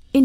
verscheen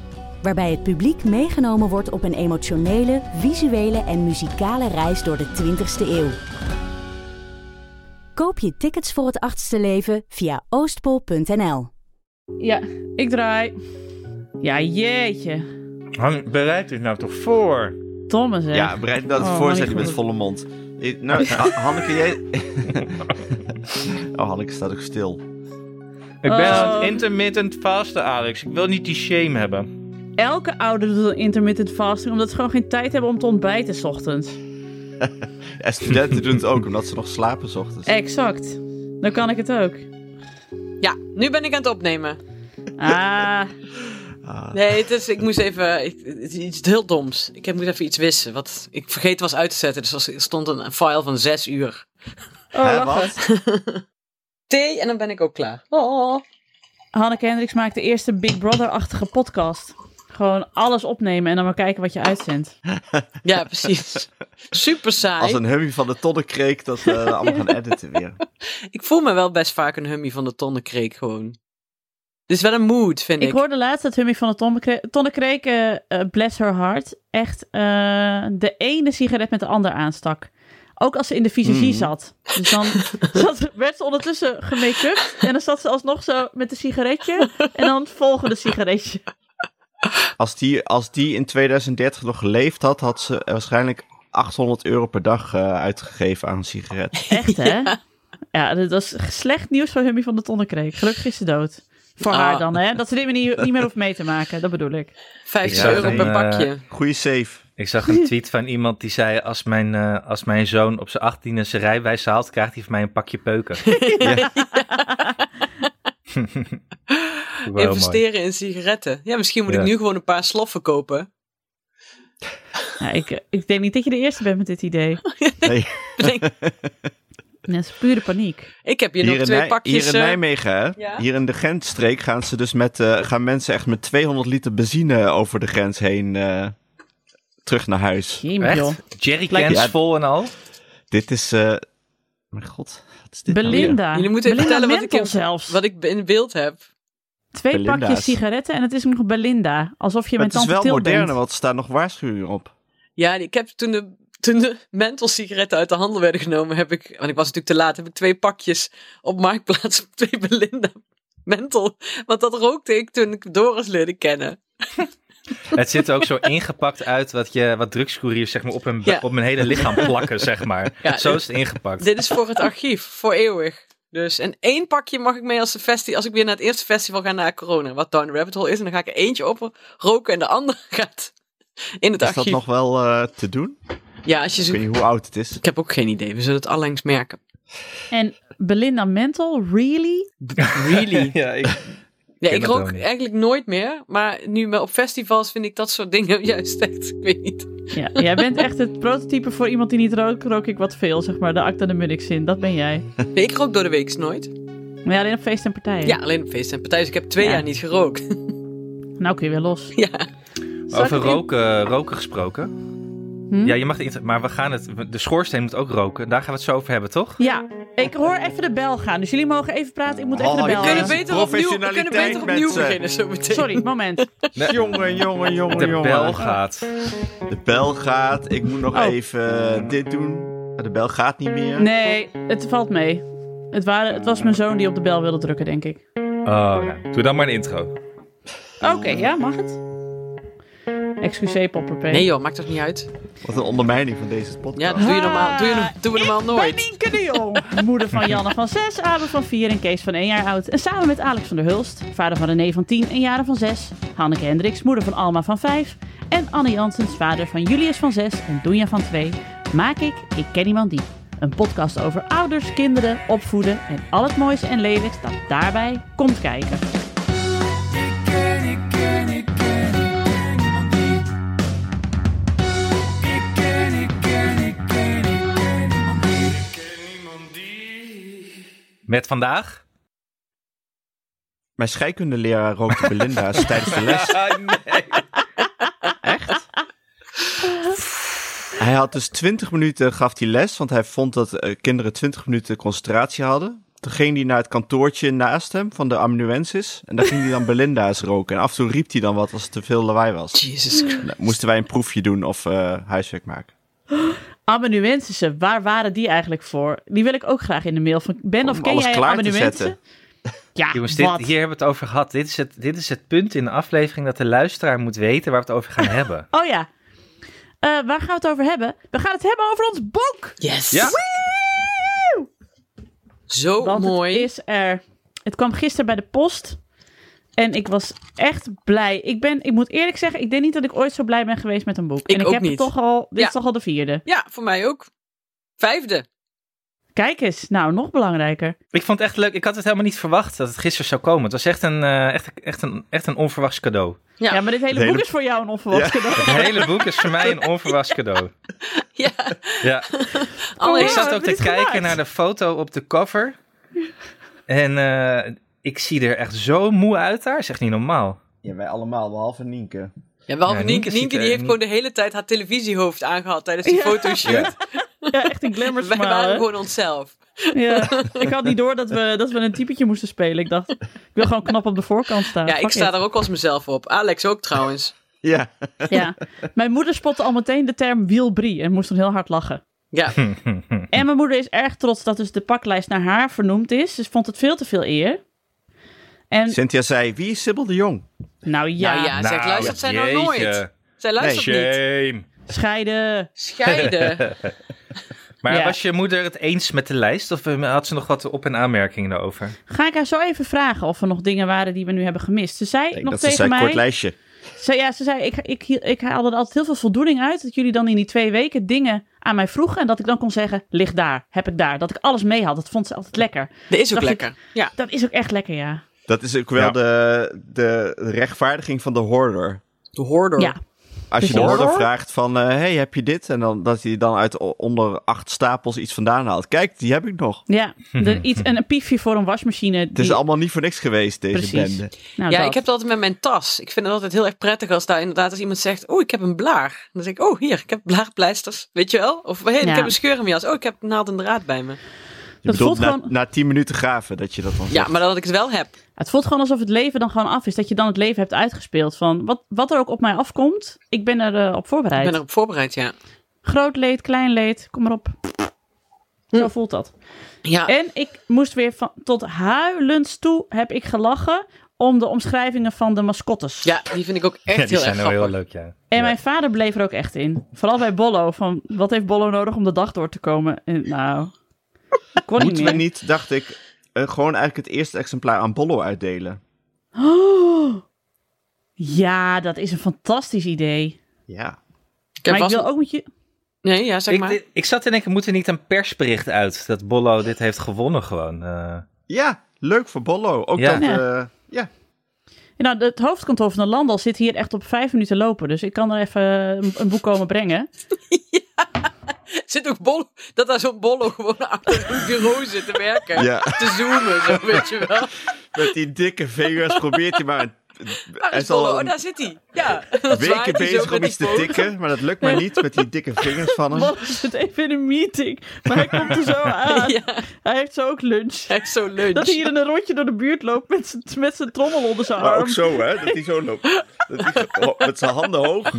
Waarbij het publiek meegenomen wordt op een emotionele, visuele en muzikale reis door de 20ste eeuw. Koop je tickets voor het achtste leven via oostpol.nl. Ja, ik draai. Ja, jeetje. Hang, bereid dit nou toch voor? Thomas, hè? Ja, bereid dat Oh, voor, zegt mijn hij met god. volle mond. Ik- Nou, Ha- Hanneke, jij... oh, Hanneke staat ook stil. Ik ben Oh. aan het intermittent fasten, Alex. Ik wil niet die shame hebben. Elke ouder doet een intermittent fasting omdat ze gewoon geen tijd hebben om te ontbijten 's ochtends. En studenten doen het ook, omdat ze nog slapen 's ochtends. Exact. Dan kan ik het ook. Ja, nu ben ik aan het opnemen. Ah, Ah, Nee, het is, ik moest even. Ik, het is iets heel doms. Ik heb moet even iets wissen. Wat ik vergeten was uit te zetten. Dus er stond een, een file van zes uur. oh, Hè, lachen. wat? Thee en dan ben ik ook klaar. Oh. Hanneke Hendricks maakt de eerste Big Brother-achtige podcast. Gewoon alles opnemen en dan maar kijken wat je uitzendt. Ja, precies. Super saai. Als een hummie van de tonnekreek dat eh, we allemaal gaan editen weer. Ik voel me wel best vaak een hummie van de tonnenkreek gewoon. Het is wel een mood, vind ik. Ik hoorde laatst dat Hummy van de Tonnekre- Tonnekreek, eh, eh, bless her heart, echt eh, de ene sigaret met de ander aanstak. Ook als ze in de visagie Mhm. zat. Dus dan zat, ze- werd ze ondertussen gemake-upt en dan zat ze alsnog zo met een sigaretje en dan het volgende sigaretje. Als die, als die in 2030 nog geleefd had, had ze waarschijnlijk 800 euro per dag eh, uitgegeven aan een sigaret. Echt, hè? Ja, dat was slecht nieuws voor Hummy van de Tonnekreek. Gelukkig is ze dood. Voor haar Ah. dan, hè? Dat ze dit niet, niet meer hoeft mee te maken, dat bedoel ik. 50 Ik zou euro geen, per eh, pakje. Goeie save. Ik zag een tweet van iemand die zei... als mijn, eh, als mijn zoon op zijn 18e zijn rijwijs haalt... krijgt hij van mij een pakje peuken. Wel mooi. Investeren in sigaretten. Ja, misschien moet Ja. ik nu gewoon een paar sloffen kopen. Nou, ik, ik denk niet dat je de eerste bent met dit idee. Nee, Dat is pure paniek. Ik heb hier, hier, nog in twee Nij- pakjes. hier in eh, Nijmegen, hè? ja? hier in de Gentstreek, gaan, ze dus met, eh, gaan mensen echt met 200 liter benzine over de grens heen eh, terug naar huis. Jemig, joh. Echt? Jerrycans Ja. vol en al? Dit is. eh, mijn god, wat is dit? nou weer? Belinda. Jullie moeten even Belinda vertellen wat ik Mentel in- zelfs. wat ik in beeld heb. Twee Belinda's. pakjes sigaretten en het is nog Belinda. Alsof je Maar met het is tante wel Til moderne, bent. want er staan nog waarschuwingen op. Ja, ik heb toen de, toen de menthol sigaretten uit de handel werden genomen, heb ik, want ik was natuurlijk te laat, heb ik twee pakjes op Marktplaats, twee Belinda menthol. Want dat rookte ik toen ik Doris leerde kennen. Het ziet er ook zo ingepakt uit wat, je, wat drugscouriers zeg maar, op, hun, Ja. op hun hele lichaam plakken, zeg maar. Ja, zo is het ingepakt. Dit is voor het archief, voor eeuwig. Dus, en één pakje mag ik mee als, de festi- als ik weer naar het eerste festival ga na corona, wat Down the Rabbit Hole is. En dan ga ik er eentje op roken en de andere gaat in het Is dat archief. nog wel eh, te doen? Ja, als je Ik weet zoekt. niet hoe oud het is. Ik heb ook geen idee, we zullen het allengs merken. En Belinda Mental, really? Really? Ja, ik- Ja, ken ik dat rook wel niet. eigenlijk nooit meer. Maar nu me- op festivals vind ik dat soort dingen juist echt. Ik weet niet. Ja, jij bent echt het prototype voor iemand die niet rookt. Rook ik wat veel, zeg maar. De Acta de Munnichzin, dat ben jij. Nee, ik rook door de week nooit. Maar ja, alleen op feesten en partijen. Ja, alleen op feesten en partijen. Dus ik heb twee Ja. Oh, jaar niet gerookt. Nou kun je weer los. Ja. Zal ik Over het in- roken, roken gesproken. Hm? Ja, je mag de inter- maar we gaan het. we- De schoorsteen moet ook roken. Daar gaan we het zo over hebben, toch? Ja, ik hoor even de bel gaan. Dus jullie mogen even praten. Ik moet even Oh, de je bel We kunnen kunt gaan. het beter opnieuw, we kunnen beter professionaliteit, opnieuw mensen. beginnen zo meteen. Sorry, moment. Jongen, jongen, jongen, De jongen. bel gaat. De bel gaat. Ik moet nog Oh. even eh, dit doen. Maar de bel gaat niet meer. Nee, het valt mee. Het, waren, het was mijn zoon die op de bel wilde drukken, denk ik. Oh, ja. Doe dan maar een intro. Oké, ja, mag het. Excuseer, Popperpeen. Nee joh, maakt toch niet uit. Wat een ondermijning van deze Ja, podcast. dat doe je normaal, doe je, no- doen we normaal Bij nooit. Ah, Nienke de Jong. Moeder van Janne van 6, Abe van 4 en Kees van 1 jaar oud. En samen met Alex van der Hulst, vader van René van 10 en Jaren van 6. Hanneke Hendricks, moeder van Alma van 5. En Anne Jansens, vader van Julius van 6 en Doenja van 2. Maak ik Ik Ken Iemand Die. Een podcast over ouders, kinderen, opvoeden en al het moois en lelijks dat daarbij komt kijken. Met vandaag? Mijn scheikundeleraar rookte Belinda's tijdens de les. Ah, nee. Echt? Hij had dus 20 minuten, gaf hij les, want hij vond dat eh, kinderen 20 minuten concentratie hadden. Toen ging hij naar het kantoortje naast hem van de amanuensis. En daar ging hij dan Belinda's roken. En af en toe riep hij dan wat als het te veel lawaai was. Jesus Christ. Nou, moesten wij een proefje doen of eh, huiswerk maken. Amanuensissen, waar waren die eigenlijk voor? Die wil ik ook graag in de mail van Ben. Of Om ken alles jij klaar te amanuensissen? Ja, Jongens, dit, wat? hier hebben we het over gehad. Dit is het, dit is het punt in de aflevering dat de luisteraar moet weten waar we het over gaan hebben. Oh ja. Eh, waar gaan we het over hebben? We gaan het hebben over ons boek. Yes. Ja. Zo Want mooi. het is er. Het kwam gisteren bij de post. En ik was echt blij. Ik, ben, ik moet eerlijk zeggen, ik denk niet dat ik ooit zo blij ben geweest met een boek. en ik ook heb niet. Het toch al, dit Ja. is toch al de vierde. Ja, voor mij ook. Vijfde. Kijk eens, nou nog belangrijker. Ik vond het echt leuk. Ik had het helemaal niet verwacht dat het gisteren zou komen. Het was echt een, eh, echt, echt een, echt een onverwachts cadeau. Ja. Ja, maar dit hele Het boek hele- is voor jou een onverwacht cadeau. Het hele boek is voor mij een onverwachts cadeau. Ja. Ja. Alle Oh, ja. Ik zat ook hebben te we dit kijken gemaakt? naar de foto op de cover. En eh, ik zie er echt zo moe uit daar. Zeg niet normaal. Ja, wij allemaal, behalve Nienke. Ja, wel, Ja, Nienke, Nienke Nienke, ziet er die heeft niet- gewoon de hele tijd haar televisiehoofd aangehad tijdens die Ja. fotoshoot. Ja. Ja, echt een glamour Wij waren smile. gewoon onszelf. Ja. Ik had niet door dat we, dat we een typetje moesten spelen. Ik dacht, ik wil gewoon knap op de voorkant staan. Ja, ik Fuck sta it. daar ook als mezelf op. Alex ook trouwens. Ja. Ja. Mijn moeder spotte al meteen de term wielbrie en moest dan heel hard lachen. Ja, Nou, En mijn moeder is erg trots dat dus de paklijst naar haar vernoemd is. Ze vond het veel te veel eer. En, Cynthia zei, wie is Sibyl de Jong? nou ja, Nou ja. zij luistert zij nou jeetje. nooit. zij luistert niet. Shame. scheiden. Scheiden. Maar Ja. was je moeder het eens met de lijst? Of eh, had ze nog wat op- en aanmerkingen daarover? Ga ik haar zo even vragen of er nog dingen waren die we nu hebben gemist. Ze zei Ik denk nog dat ze tegen zei, mij... kort lijstje. Ze, ja, ze zei, ik, ik, ik haalde er altijd heel veel voldoening uit dat jullie dan in die twee weken dingen aan mij vroegen. En dat ik dan kon zeggen, ligt daar, heb ik daar. Dat ik alles mee had, dat vond ze altijd lekker. Dat is ook Dacht lekker. Ja. Dat is ook echt lekker, ja. Dat is ook wel Ja. de, de rechtvaardiging van de hoorder. De hoorder. Ja, Als je de Precies. hoorder Hoor. vraagt van, eh, hey, heb je dit? En dan, dat hij dan uit o- onder acht stapels iets vandaan haalt. Kijk, die heb ik nog. ja. Er, iets, een, een piefje voor een wasmachine. Het is die- allemaal niet voor niks geweest, deze Precies. bende. nou, Ja, dat. ik heb dat altijd met mijn tas. Ik vind het altijd heel erg prettig als daar inderdaad als iemand zegt, oh, ik heb een blaar. Dan zeg ik, oh, hier, ik heb blaarpleisters. Weet je wel? Of, hey, Ja. ik heb een scheur in mijn jas. Oh, ik heb naald en draad bij me. Je Dat bedoelt voelt na, gewoon- na tien minuten graven dat je dat dan Ja, zegt. maar dat ik het wel heb. Het voelt gewoon alsof het leven dan gewoon af is. Dat je dan het leven hebt uitgespeeld. Van wat, wat er ook op mij afkomt, ik ben er eh, op Ik voorbereid. ben erop voorbereid, ja. Groot leed, klein leed, kom maar op. Zo Hm. voelt dat. Ja, En ik moest weer van, tot huilends toe heb ik gelachen om de omschrijvingen van de mascottes. ja die vind ik ook echt Ja, die heel zijn erg wel grappig. heel leuk, ja. En Ja. mijn vader bleef er ook echt in. Vooral bij Bollo. Van, wat heeft Bollo nodig om de dag door te komen? En, nou, dat kon niet Moeten we meer. niet, dacht ik, eh, gewoon eigenlijk het eerste exemplaar aan Bollo uitdelen? Oh. ja, dat is een fantastisch idee. Ja. Ik heb maar vast- ik wil ook met je... Nee, ja, zeg Ik, maar. ik, zat te denken, moet er niet een persbericht uit dat Bollo dit heeft gewonnen gewoon? eh? Ja, leuk voor Bollo. Ook Ja. dat, Ja. eh, ja. Nou, het hoofdkantoor van de Landal zit hier echt op vijf minuten lopen. Dus ik kan er even een, een boek komen brengen. Zit ook bol, dat daar zo'n bollo gewoon achter een bureau zit te werken. Ja. Te zoomen, zo weet je wel. Met die dikke vingers probeert hij maar een... Daar Hij is is al Bollo, oh, een daar zit hij. Ja, dat zwaait weken hij zo bezig met om die iets te poot. tikken, maar dat lukt maar niet met die dikke vingers van hem. Wat is het even in een meeting? Maar hij komt er zo aan. Ja, Hij heeft zo ook lunch. hij is zo leuk. Dat hij hier in een rondje door de buurt loopt met zijn, met zijn trommel onder zijn Maar arm. ook zo, hè? Dat hij zo loopt. Dat hij zo- oh, met zijn handen hoog,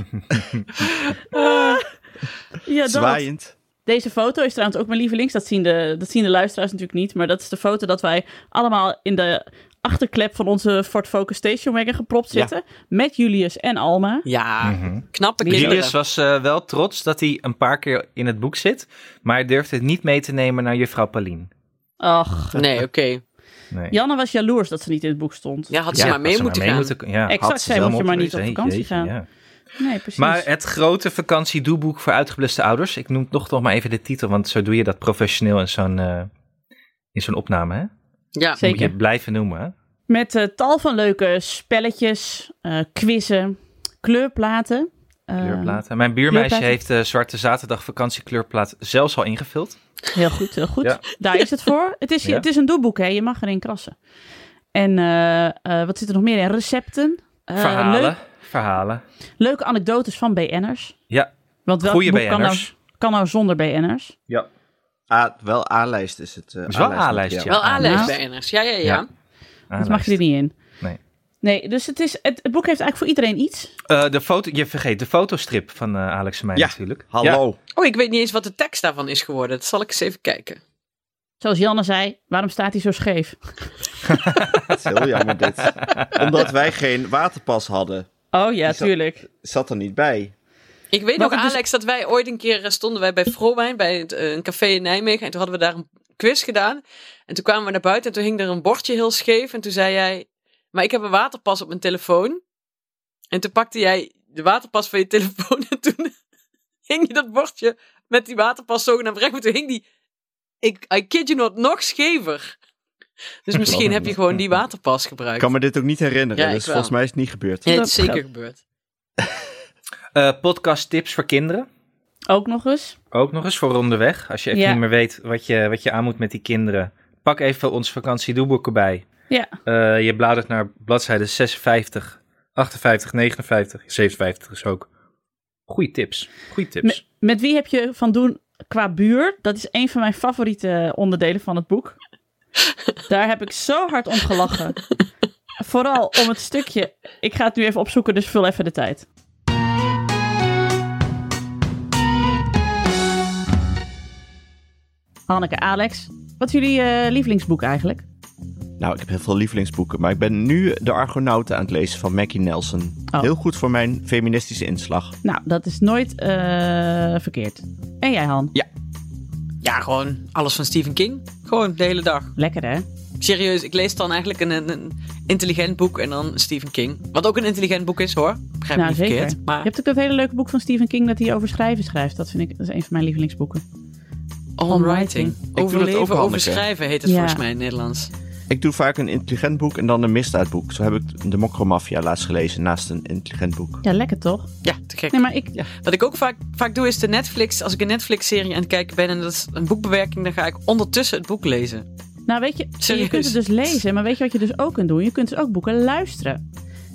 ja, dat. zwaaiend. Deze foto is trouwens ook mijn lievelings. Dat zien, de, dat zien de luisteraars natuurlijk niet. Maar dat is de foto dat wij allemaal in de achterklep van onze Ford Focus Station Wagon gepropt Ja. zitten. Met Julius en Alma. Ja, knappe kinderen. Julius was eh, wel trots dat hij een paar keer in het boek zit, maar hij durfde het niet mee te nemen naar juffrouw Paulien. Ach. Nee, oké. Nee. Janne was jaloers dat ze niet in het boek stond. Ja, had ze maar mee had ze moeten maar gaan. ja, Exact, had ze zij wel moet je maar moeten niet op doen. vakantie Jeetje, gaan. ja. Nee, precies. Maar eh, het grote vakantiedoeboek voor uitgebluste ouders. Ik noem toch nog maar even de titel, want zo doe je dat professioneel in zo'n eh, in zo'n opname. Hè? Ja, Zeker. Moet je het blijven noemen. Hè? Met eh, tal van leuke spelletjes, eh, quizzen, kleurplaten. Eh, Kleurplaten. Mijn buurmeisje kleurplaten. heeft eh Zwarte Zaterdag vakantiekleurplaat zelfs al ingevuld. Heel goed, heel goed. Ja. Daar is het voor. Het is, Ja. het is een doelboek, hè. Je mag erin krassen. En eh, eh, wat zit er nog meer in? Recepten. Eh, verhalen. leuk- Verhalen. leuke anekdotes van BN'ers. Ja. Want welk Goeie boek kan nou, BN'ers. kan nou zonder BN'ers? Ja. A, Ah, wel A-lijst is het. eh, Is wel A-lijst A-lijst, materiaal. Wel A-lijst nou. bij NRS. Ja, ja, ja. Ja. Dat mag je er niet in. Nee. Nee, dus het, is, het, het boek heeft eigenlijk voor iedereen iets. Eh, de foto, je vergeet de fotostrip van eh, Alex en mij Ja. natuurlijk. Ja. Hallo. Oh, ik weet niet eens wat de tekst daarvan is geworden. Dat zal ik eens even kijken. Zoals Janne zei, waarom staat hij zo scheef? Het is heel jammer dit. Omdat wij geen waterpas hadden, Oh ja, Is dat- tuurlijk. zat er niet bij. Ik weet Maar dus- nog, het is- Alex, dat wij ooit een keer eh, stonden wij bij Vrowijn, bij het, eh, een café in Nijmegen. En toen hadden we daar een quiz gedaan. En toen kwamen we naar buiten en toen hing er een bordje heel scheef. En toen zei jij, maar ik heb een waterpas op mijn telefoon. En toen pakte jij de waterpas van je telefoon. En toen hing je dat bordje met die waterpas zogenaamd recht. Maar toen hing die, ik, I kid you not, nog schever. Dus misschien heb je gewoon die waterpas Ik gebruikt. kan me dit ook niet herinneren, Ja, ik dus wel. volgens mij is het niet gebeurd. Nee, het Dat is zeker geldt. gebeurd. Eh, podcast tips voor kinderen. Ook nog eens. Ook nog eens voor onderweg. Als je even Ja. niet meer weet wat je, wat je aan moet met die kinderen. Pak even ons vakantiedoelboek erbij. Ja. Eh, je bladert naar bladzijde 56, 58, 59, 57 is ook. Goeie tips. Goeie tips. Me- met wie heb je van doen qua buur? Dat is een van mijn favoriete eh, onderdelen van het boek. Daar heb ik zo hard om gelachen. Vooral om het stukje. Ik ga het nu even opzoeken, dus vul even de tijd. Hanneke, Alex, wat is jullie eh, lievelingsboek eigenlijk? Nou, ik heb heel veel lievelingsboeken, maar ik ben nu De Argonauten aan het lezen van Mackie Nelson. Oh. Heel goed voor mijn feministische inslag. Nou, dat is nooit eh, verkeerd. En jij, Han? Ja, gewoon alles van Stephen King. Gewoon de hele dag. Lekker, hè? Serieus, ik lees dan eigenlijk een, een, een intelligent boek en dan Stephen King. Wat ook een intelligent boek is hoor. Begrijp me nou, niet zeker. verkeerd. Maar Je hebt ook dat hele leuke boek van Stephen King dat hij over schrijven schrijft. Dat vind ik dat is een van mijn lievelingsboeken. on writing. Ik doe dat Overleven, ook, Hanneke. overschrijven heet het Ja. volgens mij in het Nederlands. Ik doe vaak een intelligent boek en dan een misdaadboek. Zo heb ik De Mokromafia laatst gelezen naast een intelligent boek. Ja, lekker toch? Ja, te gek. Nee, maar ik. Wat ik ook vaak, vaak doe is de Netflix. Als ik een Netflix-serie aan het kijken ben en dat is een boekbewerking, dan ga ik ondertussen het boek lezen. Nou, weet je, je Serieus? kunt het dus lezen, maar weet je wat je dus ook kunt doen? Je kunt dus ook boeken luisteren.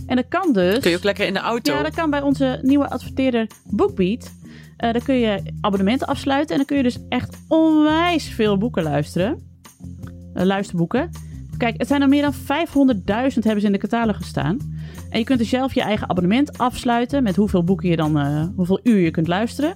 En dat kan dus. Kun je ook lekker in de auto. ja, dat kan bij onze nieuwe adverteerder BookBeat. Eh dan kun je abonnementen afsluiten en dan kun je dus echt onwijs veel boeken luisteren. Eh, luisterboeken. Kijk, het zijn er meer dan 500.000 hebben ze in de catalogus gestaan. En je kunt dus zelf je eigen abonnement afsluiten met hoeveel boeken je dan, eh, hoeveel uur je kunt luisteren.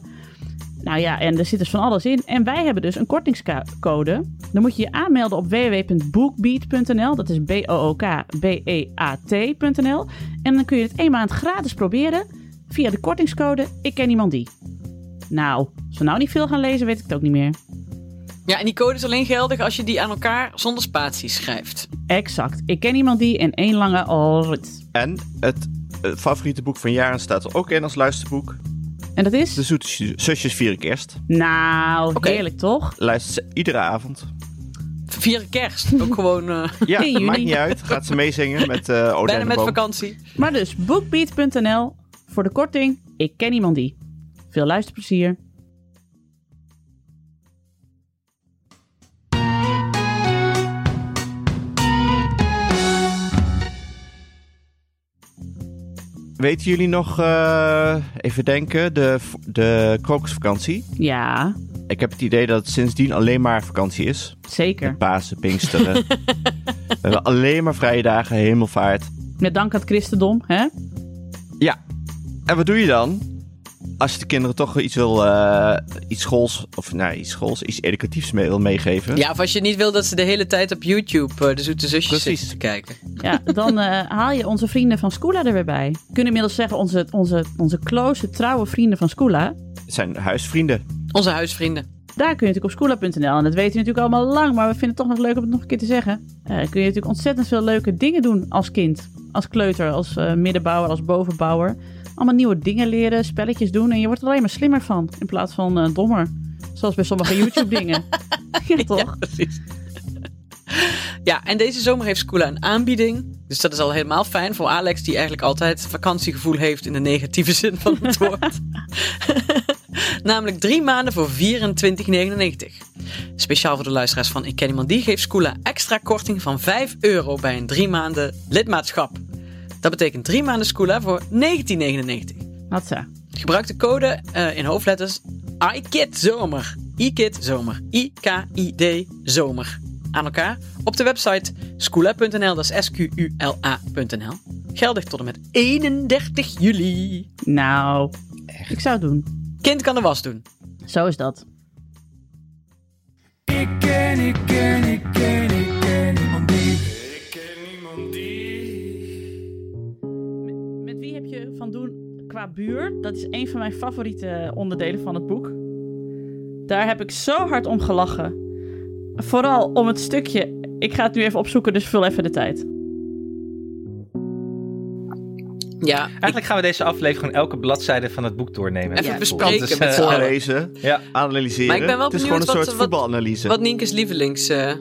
Nou ja, en er zit dus van alles in. En wij hebben dus een kortingscode. Dan moet je je aanmelden op www.bookbeat.nl. Dat is E B-O-O-K-B-E-A-T.nl. En dan kun je het één maand gratis proberen via de kortingscode Ik ken iemand die. Nou, als we nou niet veel gaan lezen, weet ik het ook niet meer. Ja, en die code is alleen geldig als je die aan elkaar zonder spaties schrijft. Exact. Ik ken iemand die en één lange alrit. En het eh, favoriete boek van Jaren staat er ook in als luisterboek. En dat is? De Zoete Su- Zusjes Vieren Kerst. Nou, Oké. heerlijk toch? Luistert ze iedere avond. Vieren kerst. Ook gewoon eh, Ja, In juni. maakt niet uit. Gaat ze meezingen met eh Ode bijna en de met Boom. vakantie. Maar dus bookbeat.nl voor de korting Ik ken iemand die. Veel luisterplezier. Weten jullie nog, eh, even denken, de, v- de krokusvakantie? Ja, Ik heb het idee dat het sindsdien alleen maar vakantie is. zeker. Pasen, Pinksteren. We hebben alleen maar vrije dagen, hemelvaart. Met dank aan het christendom, hè? Ja. En wat doe je dan? Als je de kinderen toch iets wil, eh, iets schools, of nou, iets schools, iets educatiefs mee wil meegeven. Ja, of als je niet wil dat ze de hele tijd op YouTube eh, de zoete zusjes Precies. zitten te kijken. Ja, dan eh, haal je onze vrienden van Scoola er weer bij. We kunnen inmiddels zeggen, onze, onze, onze close, trouwe vrienden van Scoola. Het zijn huisvrienden. Onze huisvrienden. Daar kun je natuurlijk op schoola.nl, en dat weten we natuurlijk allemaal lang, maar we vinden het toch nog leuk om het nog een keer te zeggen. Eh, kun je natuurlijk ontzettend veel leuke dingen doen als kind. Als kleuter, als eh, middenbouwer, als bovenbouwer. Allemaal nieuwe dingen leren, spelletjes doen en je wordt er alleen maar slimmer van in plaats van eh, dommer. Zoals bij sommige YouTube-dingen. ja, toch? Precies. Ja, en deze zomer heeft Skoola een aanbieding. Dus dat is al helemaal fijn voor Alex, die eigenlijk altijd vakantiegevoel heeft in de negatieve zin van het woord. Namelijk drie maanden voor 24,99. Speciaal voor de luisteraars van Ik Ken Iemand Die geeft Skoola extra korting van 5 euro bij een drie maanden lidmaatschap. Dat betekent drie maanden Skoola voor 1999. Had ze. Gebruik de code eh, in hoofdletters IKID Zomer. IKID Zomer. I-K-I-D Zomer. Aan elkaar op de website skoola.nl, dat is S-Q-U-L-A.nl. Geldig tot en met 31 juli. Nou, ik zou het doen. Kind kan de was doen. Zo is dat. Ik ken, ik ken, ik ken, ik ken niemand die. Ik ken niemand die. Met wie heb je van doen qua buur? Dat is een van mijn favoriete eh, onderdelen van het boek. Daar heb ik zo hard om gelachen. Vooral om het stukje. Ik ga het nu even opzoeken, dus vul even de tijd. Ja, Eigenlijk gaan we deze aflevering gewoon elke bladzijde van het boek doornemen. Even Ja, bespreken cool. met eh, z'n allen. Voorlezen, Ja, analyseren. oh. Maar ik ben wel het is gewoon benieuwd een wat- soort wat- voetbalanalyse. wat Nienke's lievelingsding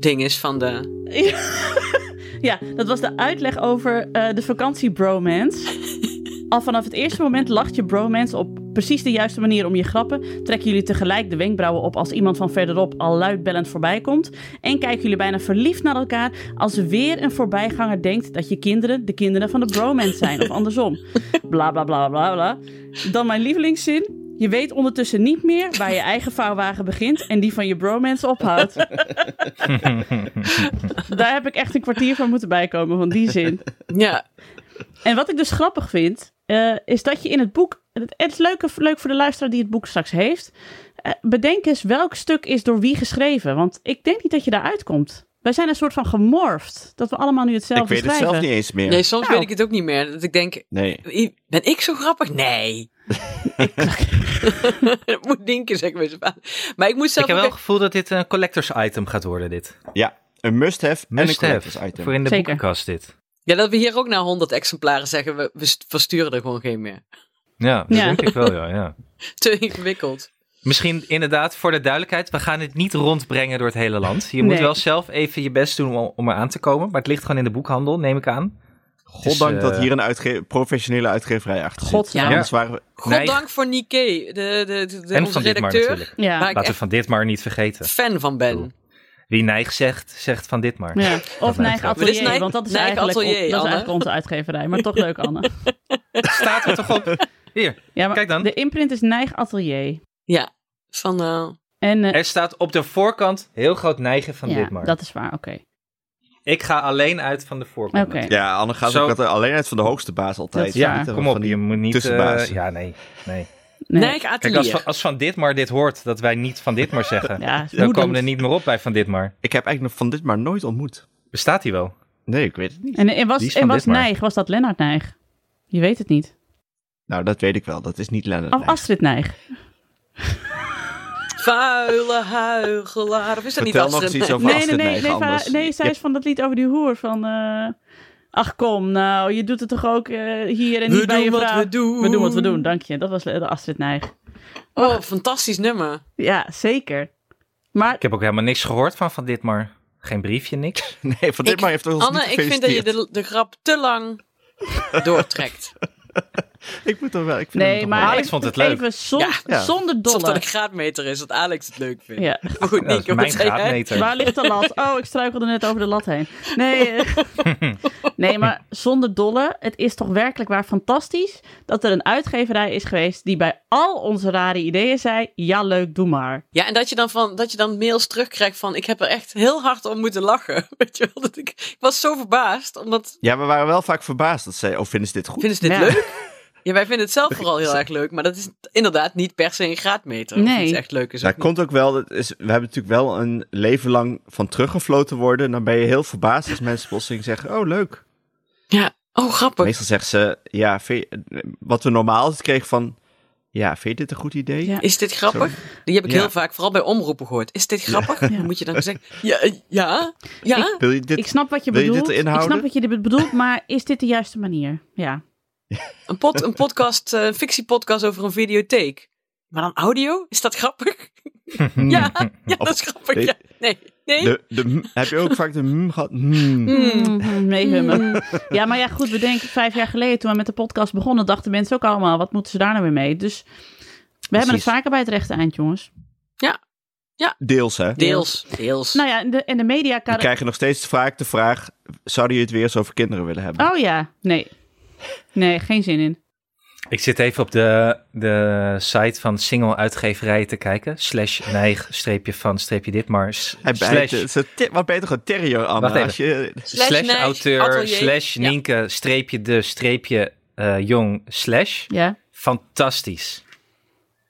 eh, is van de... Ja, dat was de uitleg over eh de vakantiebromance. Al vanaf het eerste moment lacht je bromance op precies de juiste manier om je grappen. Trekken jullie tegelijk de wenkbrauwen op als iemand van verderop al luidbellend voorbij komt. En kijken jullie bijna verliefd naar elkaar als weer een voorbijganger denkt dat je kinderen de kinderen van de bromance zijn. Of andersom. Bla bla bla bla bla. Dan mijn lievelingszin. Je weet ondertussen niet meer waar je eigen vouwwagen begint en die van je bromance ophoudt. Daar heb ik echt een kwartier van moeten bijkomen, van die zin. Ja, En wat ik dus grappig vind, eh, is dat je in het boek. Het het is leuk, leuk voor de luisteraar die het boek straks heeft. eh, bedenk eens welk stuk is door wie geschreven. Want ik denk niet dat je daar uitkomt. Wij zijn een soort van gemorfd. Dat we allemaal nu hetzelfde ik weet het schrijven. zelf niet eens meer. nou nee, soms Nou. weet ik het ook niet meer. Dat ik denk, Nee. I- Ben ik zo grappig? Nee. dat moet Nienke zeggen bij zijn vader. Maar ik moet ik zelf heb wel ook het gevoel dat dit een collectors item gaat worden, dit. Ja, een must-have en een Must have collectors item. voor in de Zeker. boekenkast, dit. Ja, dat we hier ook na 100 exemplaren zeggen, we, we st- versturen er gewoon geen meer. Ja, dat Ja. denk ik wel, ja, ja. Te ingewikkeld. Misschien inderdaad, voor de duidelijkheid, we gaan het niet rondbrengen door het hele land. Je moet Nee. wel zelf even je best doen om, om er aan te komen. Maar het ligt gewoon in de boekhandel, neem ik aan. Goddank Dus, eh, dat hier een uitge- professionele uitgeverij achter zit. Godzijdank. Ja. Anders waren we... Goddank voor Nike, de, de, de, de- En onze van Ditmar redacteur, natuurlijk. Ja. waar ik Laten we echt van Ditmar niet vergeten. fan van ben. Wie Nijg zegt, zegt van Ditmar. Ja, of mij Neig wel. Atelier, Dit is Nijg- want dat is, Nijg eigenlijk, on- Atelier, dat is Anne. eigenlijk onze uitgeverij. Maar toch leuk, Anne. Staat er toch op? Hier, Ja, maar Kijk dan. De imprint is Neig Atelier. Ja, van eh, En, eh, er staat op de voorkant heel groot Nijgen van ja, Ditmar. dat is waar, oké. Ik ga alleen uit van de voorkant. Oké. Ja, Anne gaat Zo. ook altijd alleen uit van de hoogste baas altijd. Dat is waar. Niet, eh, Kom van op, die- je moet niet... eh tussenbaas. ja, nee, nee. Nee. Nike Kijk, Atelier. als, van- als Van Ditmar dit hoort, dat wij niet Van Ditmar zeggen, Ja, is dan komen woedend. we er niet meer op bij Van Ditmar. Ik heb eigenlijk nog van dit maar nooit ontmoet. Bestaat hij wel? Nee, ik weet het niet. En, en was, Die is en van was Ditmar. Nijg, was dat Lennart Nijg? Je weet het niet. Nou, dat weet ik wel. Dat is niet Lennart. Of Oh, nee. Astrid Nijg. Vuile huigelaar. Of is dat niet Vertel nog eens Astrid? iets Nee. over Astrid nee, Nijg nee, anders. van- nee, zij Ja. is van dat lied over die hoer van... eh, ach kom, nou, je doet het toch ook eh, hier en We niet bij doen je wat vrouw. we doen. We doen wat we doen, dank je. Dat was de Astrid Nijg. Oh, fantastisch nummer. Ja, zeker. Maar Ik heb ook helemaal niks gehoord van Van Ditmar. Geen briefje, niks. Nee, van dit maar heeft ons Anne, niet ik vind dat je gefeliciteerd. de, de grap te lang doortrekt. Ik moet er wel... Ik vind hem nee, toch maar wel- Alex even- vond het leuk. Even zon- Ja. Ja. zonder Alsof dat dolle. een graadmeter is, dat Alex het leuk vindt. Ja. Maar goed, Ja, dat is Nienke, wat mijn zei jij? graadmeter. Waar ligt de lat? Oh, ik struikelde net over de lat heen. Nee, eh. nee, maar zonder dolle. Het is toch werkelijk waar fantastisch dat er een uitgeverij is geweest die bij al onze rare ideeën zei: ja, leuk, doe maar. Ja, en dat je, dan van, dat je dan mails terugkrijgt van... ik heb er echt heel hard om moeten lachen. Weet je wel, dat ik, ik was zo verbaasd. Omdat, Ja, we waren wel vaak verbaasd dat zij... Oh, vinden ze dit goed? vinden ze dit Ja. leuk? Ja, wij vinden het zelf vooral heel erg leuk. Maar dat is inderdaad niet per se een graadmeter. Nee. Of iets echt leuk is. Dat of niet. komt ook wel, dat is, we hebben natuurlijk wel een leven lang van teruggefloten worden. En dan ben je heel verbaasd als mensen plotseling zeggen, oh leuk. Ja, oh grappig. Meestal zeggen ze, ja, vind je- wat we normaal altijd kregen van, ja, vind je dit een goed idee? Ja. Is dit grappig? Die heb ik Ja. heel vaak, vooral bij omroepen gehoord. Is dit grappig? Dan Moet je dan zeggen, ja, eh, ja, ja. Wil je dit, ik snap wat je wil je dit bedoelt. erin ik snap houden? wat je dit bedoelt, maar is dit de juiste manier? Ja. Een, pod, een podcast, eh, een fictiepodcast over een videotheek. Maar dan audio? Is dat grappig? ja, ja, dat is grappig. Nee. Ja. Nee, nee. Hmm. de, de, m- heb je ook vaak de mm gehad? Mm. Hmm. Mm, meehummen. Ja, maar ja, goed, we denken vijf jaar geleden toen we met de podcast begonnen, dachten mensen ook allemaal: wat moeten ze daar nou weer mee? Dus we hebben het Precies. vaker bij het rechte eind, jongens. Deels, hè? Deels, deels. Nou ja, en de, en de media... We krijgen nog steeds vaak de vraag, zouden jullie het weer eens over kinderen willen hebben? Oh ja, nee. Nee, geen zin in. Ik zit even op de, de site van single uitgeverij te kijken. Slash neig, streepje van, streepje dit, maar s- Hij bijt, slash, het is een te- wat beter gewoon terrier, Anna. Wacht even. Als je, Slash slash neig, auteur, atelier. slash Ja. Nienke, streepje de, streepje eh, jong, slash. Ja, Fantastisch.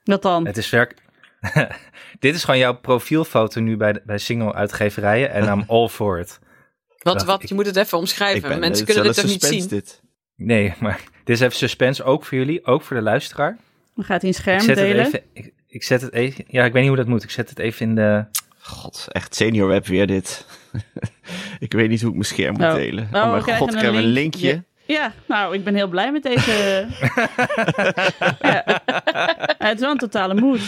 wat dan? Het is werk. dit is gewoon jouw profielfoto nu bij, de- bij single uitgeverijen en I'm all for it. wat, dacht wat, ik. je moet het even omschrijven. ik ben, Mensen het is kunnen dit wel toch een niet zien? suspense, Dit. Nee, maar dit is even suspense, ook voor jullie, ook voor de luisteraar. We gaan het in Ik scherm zet het delen. even, ik, ik zet het even, ja, ik weet niet hoe dat moet. Ik zet het even in de, God, echt senior web weer dit. ik weet niet hoe ik mijn scherm moet Oh. delen. Oh, Oh, we mijn krijgen god, een krijgen we een link. linkje. Ja, nou, ik ben heel blij met deze... ja. Het is wel een totale moed.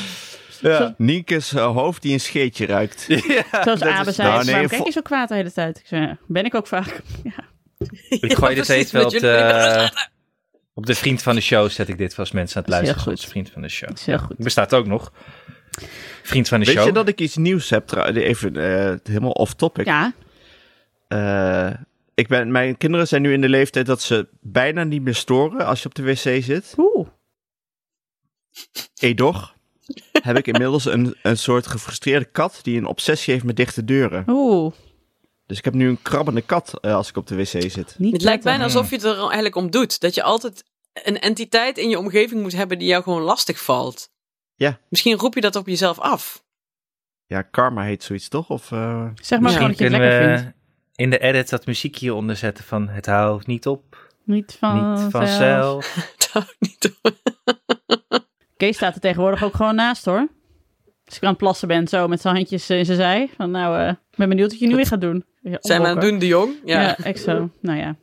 Zo- Nienke's eh, hoofd die een scheetje ruikt. Zoals Abe zei, nou, nee, waarom vo- kijk je zo kwaad de hele tijd? Ik zei, ja, ben ik ook vaak. Ik gooi dit precies, even op want jullie kunnen de, op de vriend van de show. Zet ik dit voor als mensen aan het Dat is heel luisteren. goed. Als vriend van de show. Dat is heel goed. Bestaat ook nog. Vriend van de Weet show. je dat ik iets nieuws heb? trouw- Even eh, helemaal off topic. Ja, Eh, ik ben, mijn kinderen zijn nu in de leeftijd dat ze bijna niet meer storen als je op de wc zit. oeh. Edoch heb ik inmiddels een, een soort gefrustreerde kat die een obsessie heeft met dichte deuren. Oeh, Dus ik heb nu een krabbende kat eh, als ik op de wc zit. niet Het lijkt prettig. bijna alsof je het er eigenlijk om doet. Dat je altijd een entiteit in je omgeving moet hebben die jou gewoon lastig valt. Ja. Misschien roep je dat op jezelf af. Ja, karma heet zoiets toch? Of, eh, Zeg maar Misschien gewoon Misschien dat je het kunnen lekker we vindt. in de edit dat muziek hieronder zetten van het houdt niet op, Niet van niet vanzelf. Dat houdt niet op. Kees staat er tegenwoordig ook gewoon naast hoor. Als ik aan het plassen ben, zo met zijn handjes eh, in zijn zij. Van nou, eh, ik ben benieuwd wat je nu weer gaat doen. Ja, Zijn we aan het opwokken. doen, de jong? Ja. Ja, echt zo. Nou ja.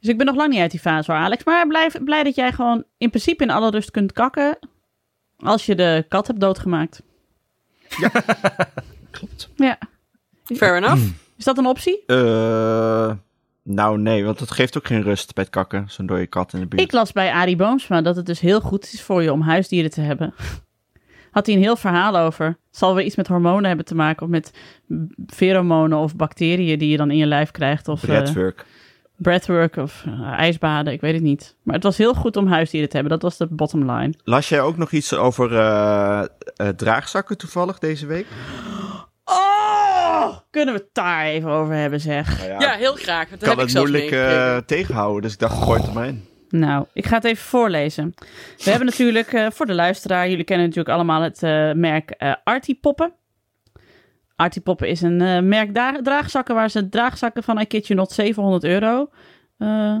Dus ik ben nog lang niet uit die fase hoor, Alex. Maar blijf blij dat jij gewoon in principe in alle rust kunt kakken. Als je de kat hebt doodgemaakt. Klopt. Ja. Fair enough. Is dat een optie? Eh, nou nee, want dat geeft ook geen rust bij het kakken, zo'n dode kat in de buurt. Ik las bij Arie Boomsma dat het dus heel goed is voor je om huisdieren te hebben. Had hij een heel verhaal over. Het zal weer iets met hormonen hebben te maken. Of met b- pheromonen of bacteriën die je dan in je lijf krijgt. Of eh, Breathwork. breathwork of eh, ijsbaden, ik weet het niet. Maar het was heel goed om huisdieren te hebben. Dat was de bottom line. Las jij ook nog iets over eh, eh, draagzakken toevallig deze week? Oh, kunnen we het daar even over hebben, zeg. Ja, heel graag. want ik kan Dat heb het ik zelf moeilijk eh, meegekregen. tegenhouden, dus ik dacht, gooi het er maar in. Nou, ik ga het even voorlezen. We hebben natuurlijk, eh, voor de luisteraar, jullie kennen natuurlijk allemaal het eh, merk eh Artipoppen. Artipoppen is een eh, merk da- draagzakken waar ze draagzakken van I Kid You Not 700 euro eh,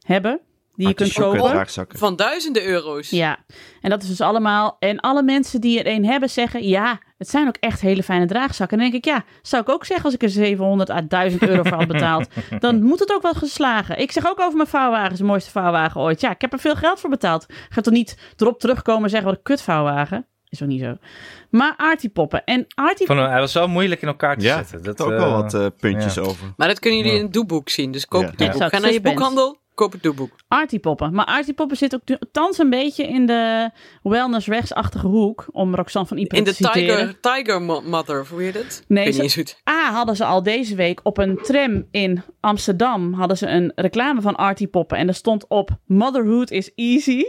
hebben. Die je kunt Artisjokken kopen. draagzakken. Van duizenden euro's. Ja, en dat is dus allemaal. En alle mensen die er een hebben zeggen: ja, het zijn ook echt hele fijne draagzakken. En dan denk ik: ja, zou ik ook zeggen als ik er 700 à 1000 euro voor had betaald. dan moet het ook wel geslagen. Ik zeg ook over mijn vouwwagen, is de mooiste vouwwagen ooit. Ja, ik heb er veel geld voor betaald. Ga toch niet erop terugkomen en zeggen: wat een kutvouwwagen. Is ook niet zo. Maar Artipoppen. En Artipoppen. Van, hij was wel moeilijk in elkaar te Ja, zetten. Er ook wel eh, wat eh, puntjes ja. over. Maar dat kunnen jullie Ja. in het doeboek zien. Dus koop Ja. het Ja. doeboek. Staat Ga naar je suspense. boekhandel, koop het doeboekhandel, koop het doeboek. Artipoppen. Maar Artipoppen zit ook nu- thans een beetje in de wellness-rechtsachtige hoek. Om Roxanne van Ieper In te de citeren. Tiger, tiger Mo- Mother, of hoe heet het? Nee, ik weet ze- niet eens hoe het- A hadden ze al deze week op een tram in Amsterdam hadden ze een reclame van Artie Poppen. En er stond op Motherhood is easy.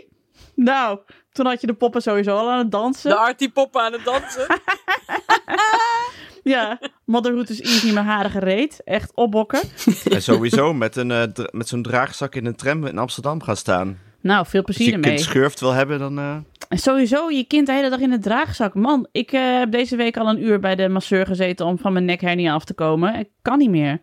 Nou, toen had je de poppen sowieso al aan het dansen. De Artie Poppen aan het dansen. Ja, Motherhood is easy, mijn haren gereed. Echt opbokken. En sowieso met, een, eh, dra- met zo'n draagzak in een tram in Amsterdam gaan staan. Nou, veel Als plezier je ermee. kind schurft wil hebben, dan... eh, En sowieso je kind de hele dag in de draagzak. Man, ik eh, heb deze week al een uur bij de masseur gezeten om van mijn nekhernia af te komen. Ik kan niet meer.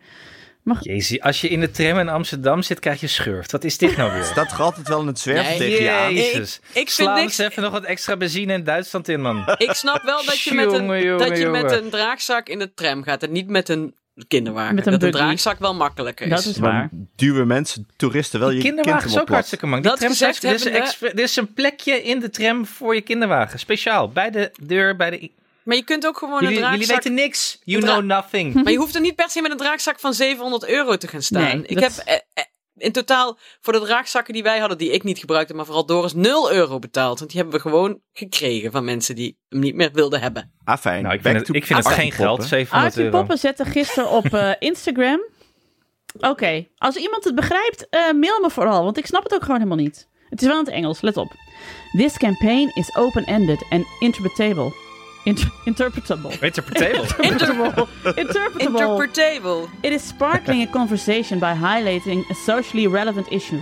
Jezus, als je in de tram in Amsterdam zit, krijg je schurft. Wat is dit nou weer? dat gaat altijd wel in het zwerven Nee, tegen je aan. Jezus. Ik- ik vind Sla niks- eens even nog wat extra benzine in Duitsland in, man. Ik snap wel dat je, met een, Jongen, jongen, dat je met jongen. een draagzak in de tram gaat en niet met een kinderwagen. Met een dat een buggy. draagzak wel makkelijker is. Dat is waar. Dan duwen mensen, toeristen, wel je kind kinderwagen is helemaal ook plat. hartstikke man. Die Dat tram gezegd staat- er, is een hebbende- expre- er is een plekje in de tram voor je kinderwagen. Speciaal. Bij de deur, bij de... Maar je kunt ook gewoon Jullie, een jullie draagzak... weten niks. You Een dra- know nothing. Maar je hoeft er niet per se met een draagzak van 700 euro te gaan staan. Nee, ik dat- heb eh, eh, in totaal voor de draagzakken die wij hadden, die ik niet gebruikte, maar vooral Doris, 0 euro betaald. Want die hebben we gewoon gekregen van mensen die hem niet meer wilden hebben. Ah, fijn. Nou, ik Back vind het, to ik vind het Artie geen Poppen. geld, 700 Artie euro. Poppen zette gisteren op eh, Instagram. Oké, als iemand het begrijpt, eh, mail me vooral, want ik snap het ook gewoon helemaal niet. Het is wel in het Engels, let op. This campaign is open-ended and interpretable. Inter- interpretable. Interpretable. Interpretable. Interpretable. Interpretable. It is sparkling a conversation by highlighting a socially relevant issue.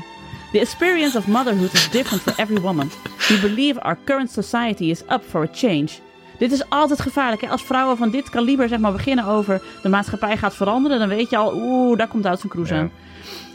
The experience of motherhood is different for every woman. We believe our current society is up for a change. Dit is altijd gevaarlijk. Hè? Als vrouwen van dit kaliber zeg maar, beginnen over de maatschappij gaat veranderen, dan weet je al, oeh, daar komt Duitse Kroes Ja. aan.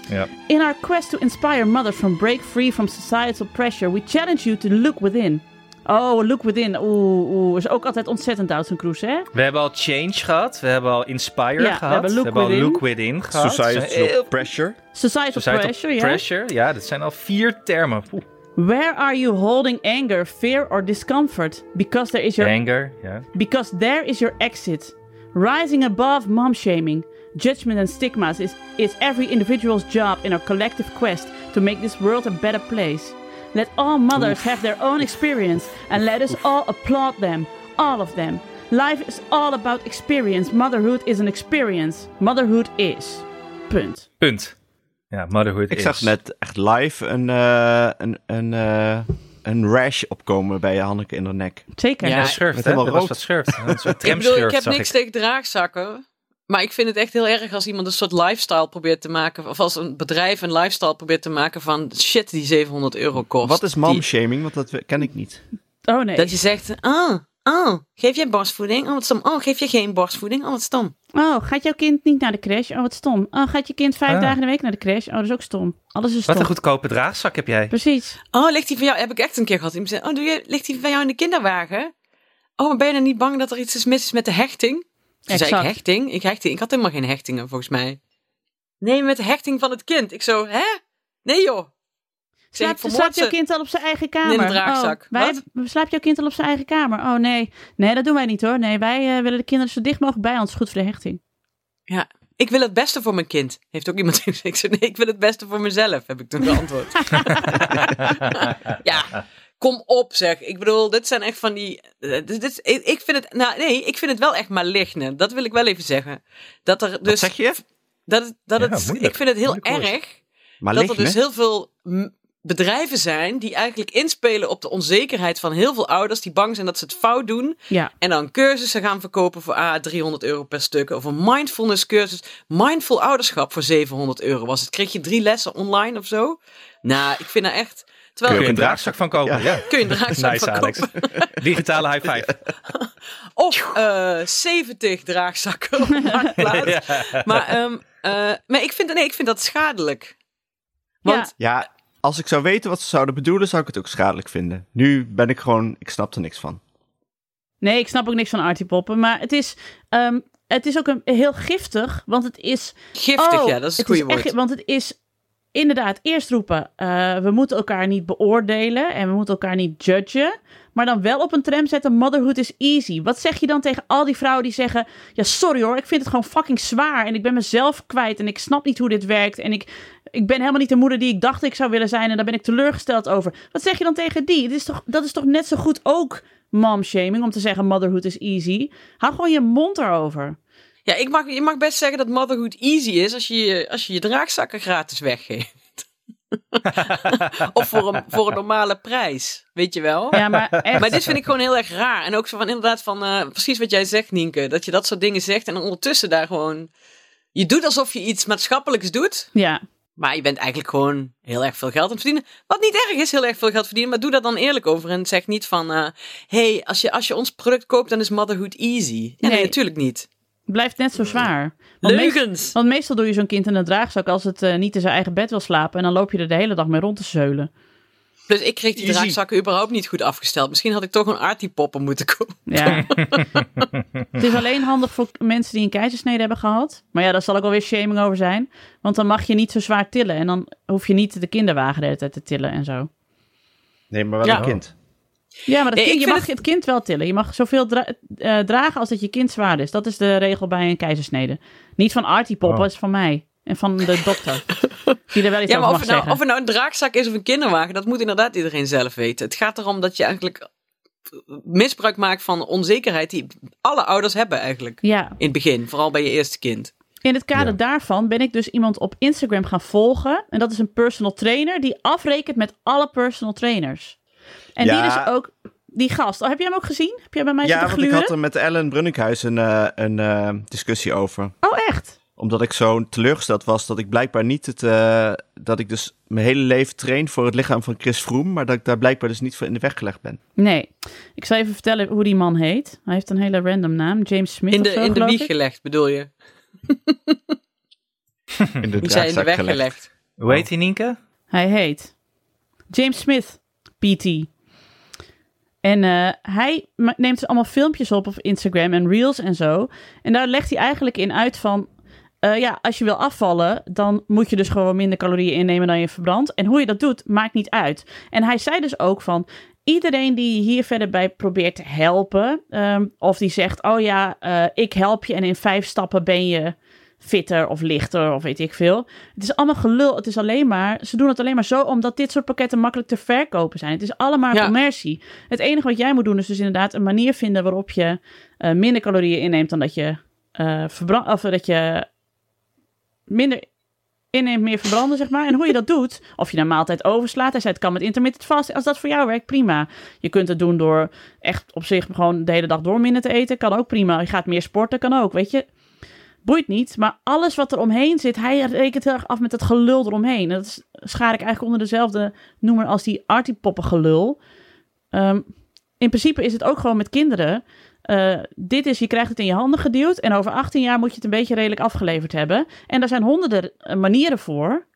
ja. In our quest to inspire mothers from break free from societal pressure, we challenge you to look within. Oh, look within. Oeh, oeh. Is ook altijd ontzettend Duitse Kroes, hè? We hebben al Change gehad. We hebben al Inspire Ja, we gehad. hebben Look Within. al Look Within gehad. Dat zijn Societal heel- pressure. Societal, Societal pressure, ja. pressure. Ja, dat zijn al vier termen. Oeh, Where are you holding anger, fear, or discomfort? Because there is your Anger. Ja. because there is your exit. Rising above mom shaming, judgment and stigmas is, is every individual's job in our collective quest to make this world a better place. Let all mothers have their own experience and let us all applaud them, all of them. Life is all about experience. Motherhood is an experience. Motherhood is. Punt. Punt. Ja, motherhood Ik is. zag net echt live een, eh, een, een, eh, een rash opkomen bij Hanneke in haar nek. Zeker. Ja, Ja, Met schurft, hè? helemaal Dat was rood. wat schurft. Een soort Ik bedoel, ik tramschurft heb zag niks tegen draagzakken. Maar ik vind het echt heel erg als iemand een soort lifestyle probeert te maken. Of als een bedrijf een lifestyle probeert te maken van shit die 700 euro kost. Wat is Die- momshaming? Want dat we- ken ik niet. Oh nee. Dat je zegt, ah, ah, geef jij borstvoeding? Oh, wat stom. Oh, geef je geen borstvoeding? Oh, wat stom. Oh, gaat jouw kind niet naar de crash? Oh, wat stom. Oh, gaat je kind vijf Ah. dagen in de week naar de crash? Oh, dat is ook stom. Alles is stom. Wat een goedkope draagzak heb jij. Precies. Oh, ligt die van jou? Heb ik echt een keer gehad. Iemand zei, oh, doe je, ligt die van jou in de kinderwagen? Oh, maar ben je dan niet bang dat er iets is mis is met de hechting? Toen zei ik, Exact. hechting? Ik hechting? Ik had helemaal geen hechtingen, volgens mij. Nee, met de hechting van het kind. Ik zo, hè? Nee, joh. Ik zeg, Slaapt, ik slaapt vermoord jouw ze. kind al op zijn eigen kamer? In een draagzak. Oh, wij Wat? hebben- slaapt jouw kind al op zijn eigen kamer? Oh nee. Nee, dat doen wij niet hoor. Nee, wij eh, willen de kinderen zo dicht mogelijk bij ons. Goed voor de hechting. Ja, ik wil het beste voor mijn kind. Heeft ook iemand gezegd. Ik zei, nee, ik wil het beste voor mezelf, heb ik toen geantwoord. ja, kom op zeg. Ik bedoel, dit zijn echt van die... eh, Dit, dit, ik ik vind het... Nou, nee, ik vind het wel echt maligne. Dat wil ik wel even zeggen. Dat er dus... zeg je? Dat, het- dat Ja, het, moeilijk. ik vind het heel Moeilijk woord. erg Maar dat ligt er dus heel veel mm, bedrijven zijn die eigenlijk inspelen op de onzekerheid van heel veel ouders die bang zijn dat ze het fout doen Ja. en dan cursussen gaan verkopen voor ah, 300 euro per stuk. Of een mindfulness cursus. Mindful ouderschap voor 700 euro was het. Kreeg je drie lessen online of zo? Nou, ik vind dat echt... Kun Terwijl je ook een draagzak van kopen. Ja. kun je een draagzak Nice, van Alex. kopen. Digitale high five. Of eh 70 draagzakken op de marktplaats. Maar, ehm, eh, maar ik, vind, nee, ik vind dat schadelijk. Want Ja, als ik zou weten wat ze zouden bedoelen, zou ik het ook schadelijk vinden. Nu ben ik gewoon, ik snap er niks van. Nee, ik snap ook niks van Artie Poppen. Maar het is, ehm, het is ook een, heel giftig. Want het is giftig, Oh, ja, dat is het is goede woord. echt- want het is inderdaad eerst roepen: eh, we moeten elkaar niet beoordelen en we moeten elkaar niet judgen. Maar dan wel op een tram zetten: motherhood is easy. Wat zeg je dan tegen al die vrouwen die zeggen: ja, sorry hoor, ik vind het gewoon fucking zwaar en ik ben mezelf kwijt en ik snap niet hoe dit werkt en ik, ik ben helemaal niet de moeder die ik dacht ik zou willen zijn en daar ben ik teleurgesteld over. Wat zeg je dan tegen die? Het is toch, dat is toch net zo goed ook mom-shaming om te zeggen: motherhood is easy. Hou gewoon je mond erover. Ja, ik mag, je mag best zeggen dat motherhood easy is als je je, als je, je draagzakken gratis weggeeft. of voor een, voor een normale prijs, weet je wel. Ja, maar echt. Maar dit vind ik gewoon heel erg raar. En ook zo van inderdaad van eh, precies wat jij zegt, Nienke. Dat je dat soort dingen zegt en dan ondertussen daar gewoon... Je doet alsof je iets maatschappelijks doet, Ja. maar je bent eigenlijk gewoon heel erg veel geld aan het verdienen. Wat niet erg is, heel erg veel geld verdienen, maar doe daar dan eerlijk over. En zeg niet van, eh, hey, als je, als je ons product koopt, dan is motherhood easy. Ja, nee, Nee. natuurlijk niet. blijft net zo zwaar. Want, meest- Mm. Leugens! want meestal doe je zo'n kind in een draagzak als het eh, niet in zijn eigen bed wil slapen. En dan loop je er de hele dag mee rond te zeulen. Plus ik kreeg die Easy. draagzakken überhaupt niet goed afgesteld. Misschien had ik toch een artie popper moeten kopen. Ja. het is alleen handig voor mensen die een keizersnede hebben gehad. Maar ja, daar zal ook alweer shaming over zijn. Want dan mag je niet zo zwaar tillen. En dan hoef je niet de kinderwagen de hele tijd te tillen en zo. Nee, maar wel Ja. een kind. Ja, maar dat Nee, kind- ik je vind mag het... kind wel tillen. Je mag zoveel dra- eh, dragen als dat je kind zwaar is. Dat is de regel bij een keizersnede. Niet van Artie Pop, Oh. dat is van mij. En van de dokter. Die er wel iets over Ja, maar of mag het, nou, zeggen. of het nou een draagzak is of een kinderwagen, dat moet inderdaad iedereen zelf weten. Het gaat erom dat je eigenlijk eh, misbruik maakt van onzekerheid die alle ouders hebben eigenlijk. Ja, In het begin, vooral bij je eerste kind. In het kader Ja. daarvan ben ik dus iemand op Instagram gaan volgen. En dat is een personal trainer die afrekent met alle personal trainers. En die Ja. is ook, die gast. Oh, heb jij hem ook gezien? Heb jij bij mij Ja, zitten want ik gluren? had er met Ellen Brunninghuis een, eh, een eh, discussie over. Oh, echt? Omdat ik zo teleurgesteld was dat ik blijkbaar niet het... eh, dat ik dus mijn hele leven train voor het lichaam van Chris Froome. Maar dat ik daar blijkbaar dus niet voor in de weg gelegd ben. Nee. Ik zal even vertellen hoe die man heet. Hij heeft een hele random naam. James Smith In de, of zo, in de geloof wieg ik. gelegd, bedoel je? In de Ik zei in de draagzak weg gelegd. gelegd. Hoe heet die, Nienke? Hij heet James Smith, PT. En eh, hij ma- neemt dus allemaal filmpjes op op Instagram en reels en zo. En daar legt hij eigenlijk in uit van... eh, ja, als je wil afvallen, dan moet je dus gewoon minder calorieën innemen dan je verbrandt. En hoe je dat doet, maakt niet uit. En hij zei dus ook van... Iedereen die je hier verder bij probeert te helpen... ehm, of die zegt, oh ja, eh, ik help je en in vijf stappen ben je fitter of lichter of weet ik veel. Het is allemaal gelul. Het is alleen maar, ze doen het alleen maar zo omdat dit soort pakketten makkelijk te verkopen zijn. Het is allemaal Ja. commercie. Het enige wat jij moet doen is dus inderdaad een manier vinden waarop je eh, minder calorieën inneemt dan dat je eh verbrandt. Of dat je minder inneemt, meer verbranden, zeg maar. En hoe je dat doet, of je een maaltijd overslaat. Hij zei, het kan met intermittent fasting. Als dat voor jou werkt, prima. Je kunt het doen door echt op zich gewoon de hele dag door minder te eten. Kan ook prima. Je gaat meer sporten, kan ook, weet je. Boeit niet, maar alles wat er omheen zit, hij rekent heel erg af met dat gelul eromheen. En Dat is- schaar ik eigenlijk onder dezelfde noemer als die artipoppen gelul. Ehm, in principe is het ook gewoon met kinderen. Eh, dit is, je krijgt het in je handen geduwd en over 18 jaar moet je het een beetje redelijk afgeleverd hebben. En daar zijn honderden eh, manieren voor,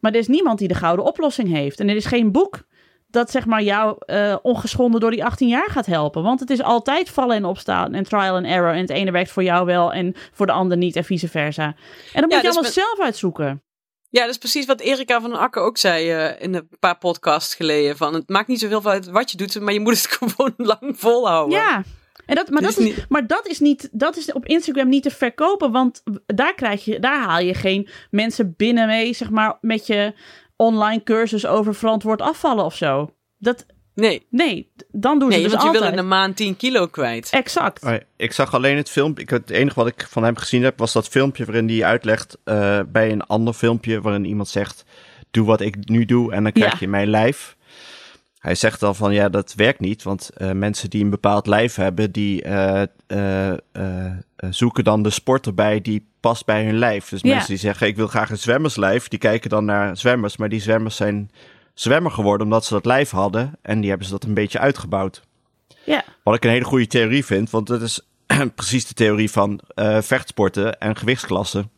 maar er is niemand die de gouden oplossing heeft. En er is geen boek dat zeg maar jou eh, ongeschonden door die 18 jaar gaat helpen. Want het is altijd vallen en opstaan en trial and error. En het ene werkt voor jou wel en voor de ander niet en vice versa. En dat moet je dus allemaal met- zelf uitzoeken. Ja, dat is precies wat Erika van den Akker ook zei eh, in een paar podcasts geleden. Van, het maakt niet zoveel uit wat je doet, maar je moet het gewoon lang volhouden. Ja. En dat, maar, Het dat is is, niet- maar dat is niet, dat is op Instagram niet te verkopen, want daar, krijg je, daar haal je geen mensen binnen mee, zeg maar, met je online cursus over verantwoord afvallen of zo. Dat, Nee, nee, d- dan doen nee ze dus want je altijd. wil in een maand 10 kilo kwijt. Exact. Ah. Oh ja, ik zag alleen het filmpje. Ik, het enige wat ik van hem gezien heb, was dat filmpje waarin hij uitlegt eh, bij een ander filmpje waarin iemand zegt: Doe wat ik nu doe en dan krijg Ja. je mijn lijf. Hij zegt dan van ja, dat werkt niet, want eh, mensen die een bepaald lijf hebben, die eh, eh, eh, eh, zoeken dan de sport erbij die past bij hun lijf. Dus Ja. mensen die zeggen ik wil graag een zwemmerslijf, die kijken dan naar zwemmers, maar die zwemmers zijn zwemmer geworden omdat ze dat lijf hadden en die hebben ze dat een beetje uitgebouwd. Ja. Wat ik een hele goede theorie vind, want dat is precies de theorie van eh, vechtsporten en gewichtsklassen.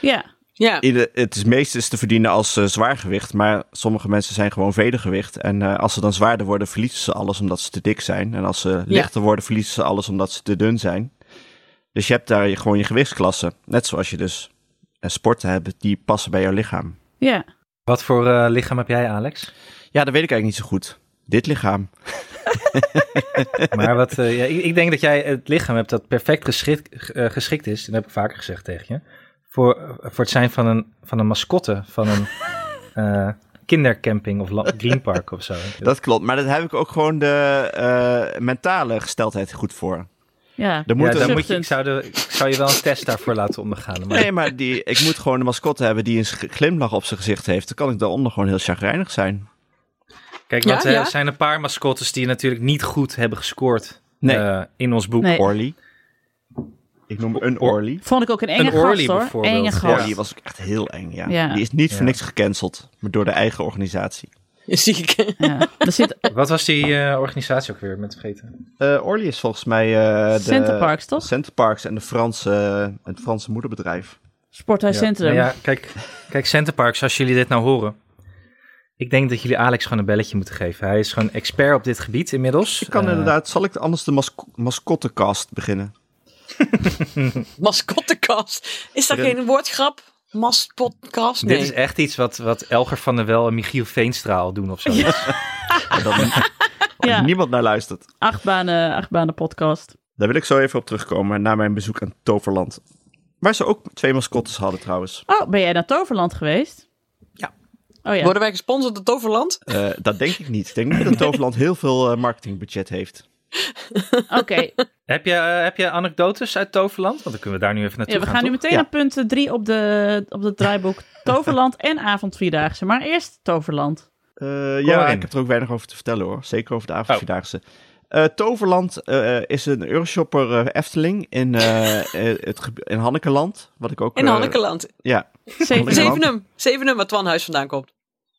ja. Ja, Ieder- het is meestens te verdienen als eh, zwaargewicht, maar sommige mensen zijn gewoon vedergewicht. En eh, als ze dan zwaarder worden, verliezen ze alles omdat ze te dik zijn. En als ze lichter worden, verliezen ze alles omdat ze te dun zijn. Dus je hebt daar je- gewoon je gewichtsklasse. Net zoals je dus eh, sporten hebt die passen bij jouw lichaam. Ja. Wat voor eh, lichaam heb jij, Alex? Ja, dat weet ik eigenlijk niet zo goed. Dit lichaam. Maar wat, eh, ja, ik, ik denk dat jij het lichaam hebt dat perfect geschikt, g- eh, geschikt is, dat heb ik vaker gezegd tegen je, voor, eh, voor het zijn van een, van een mascotte, van een eh, kindercamping of la- greenpark of zo. Dat klopt, maar dat heb ik ook gewoon de eh, mentale gesteldheid goed voor. Ja. Er ja, moet dus- dan een- moet je, ik, zou de, ik zou je wel een test daarvoor laten ondergaan. Maar Nee, maar die, ik moet gewoon een mascotte hebben die een sch- glimlach op zijn gezicht heeft. Dan kan ik daaronder gewoon heel chagrijnig zijn. kijk, Ja, want eh, ja. er zijn een paar mascottes die natuurlijk niet goed hebben gescoord Nee. eh, in ons boek. Nee. Orly. Ik noem een Orly. Vond ik ook een enge Een Orly gast hoor. bijvoorbeeld. Enge Ja. gast. Orly was ook echt heel eng, ja. Ja. Die is niet Ja. voor niks gecanceld, maar door de eigen organisatie. ziek. Ja. Er zit Wat was die eh, organisatie ook weer met vergeten? Eh Orly is volgens mij eh de... Centerparks, toch? Centerparks en de Franse, het Franse moederbedrijf. Sporthuis Ja. Centrum. Nou ja, kijk, kijk Centerparks, als jullie dit nou horen. Ik denk dat jullie Alex gewoon een belletje moeten geven. Hij is gewoon expert op dit gebied inmiddels. Ik kan Eh, inderdaad, zal ik anders de masco mascottencast beginnen? Mascottenkast. Is dat Ja. geen woordgrap? Mascotkast? Nee. Dit is echt iets wat, wat Elger van der Wel en Michiel Veenstraal doen of zo. En Dat Ja. niemand naar luistert. Achtbanen, achtbanen podcast. Daar wil ik zo even op terugkomen na mijn bezoek aan Toverland. Waar ze ook twee mascottes hadden trouwens. Oh, ben jij naar Toverland geweest? Ja. Oh ja. Worden wij gesponsord door Toverland? Eh, dat denk ik niet. Ik denk niet dat Toverland heel veel eh, marketingbudget heeft. Oké. Heb je, eh, heb je anekdotes uit Toverland? Want dan kunnen we daar nu even naartoe Ja, we gaan nu toch? meteen Ja. naar punt 3 op de, op het draaiboek. Toverland en avondvierdaagse. Maar eerst Toverland. Eh, maar ja, in. ik heb er ook weinig over te vertellen hoor. Zeker over de avondvierdaagse. Eh, Toverland eh, is een Euroshopper eh, Efteling in, eh, eh, het gebi- in Hannekeland. Wat ik ook. In eh, Hannekeland. Ja. Zeven. Handekeland. Zevenum. Zevenum, waar Twan Huis vandaan komt.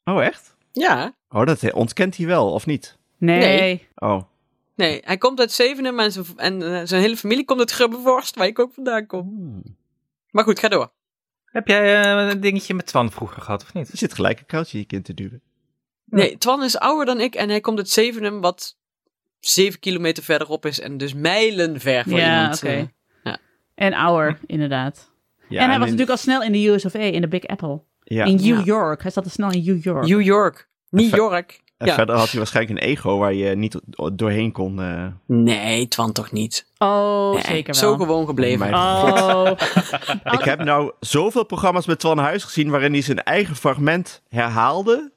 Oh, echt? Ja. Oh, dat he- ontkent hij wel, of niet? Nee. Nee. Oh. Nee, hij komt uit Zevenum en zijn, en eh, zijn hele familie komt uit Grubbevorst, waar ik ook vandaan kom. Maar goed, ga door. Heb jij eh, een dingetje met Twan vroeger gehad, of niet? Je zit gelijk een koudje je kind te duwen. Nee, Twan is ouder dan ik en hij komt uit Zevenum, wat zeven kilometer verderop is en dus mijlen ver voor Ja, iemand. oké. eh, En ouder, inderdaad. Ja, en hij was in- natuurlijk al snel in de US of A, in de Big Apple. Ja. In New Ja. York. Hij zat al snel in New York. New York. New Ver- York. En Ja. verder had hij waarschijnlijk een ego waar je niet do- doorheen kon. eh. Nee, Twan toch niet. oh, Nee, zeker wel. Zo gewoon gebleven. Mijn Oh. Ik heb nou zoveel programma's met Twan Huis gezien waarin hij zijn eigen fragment herhaalde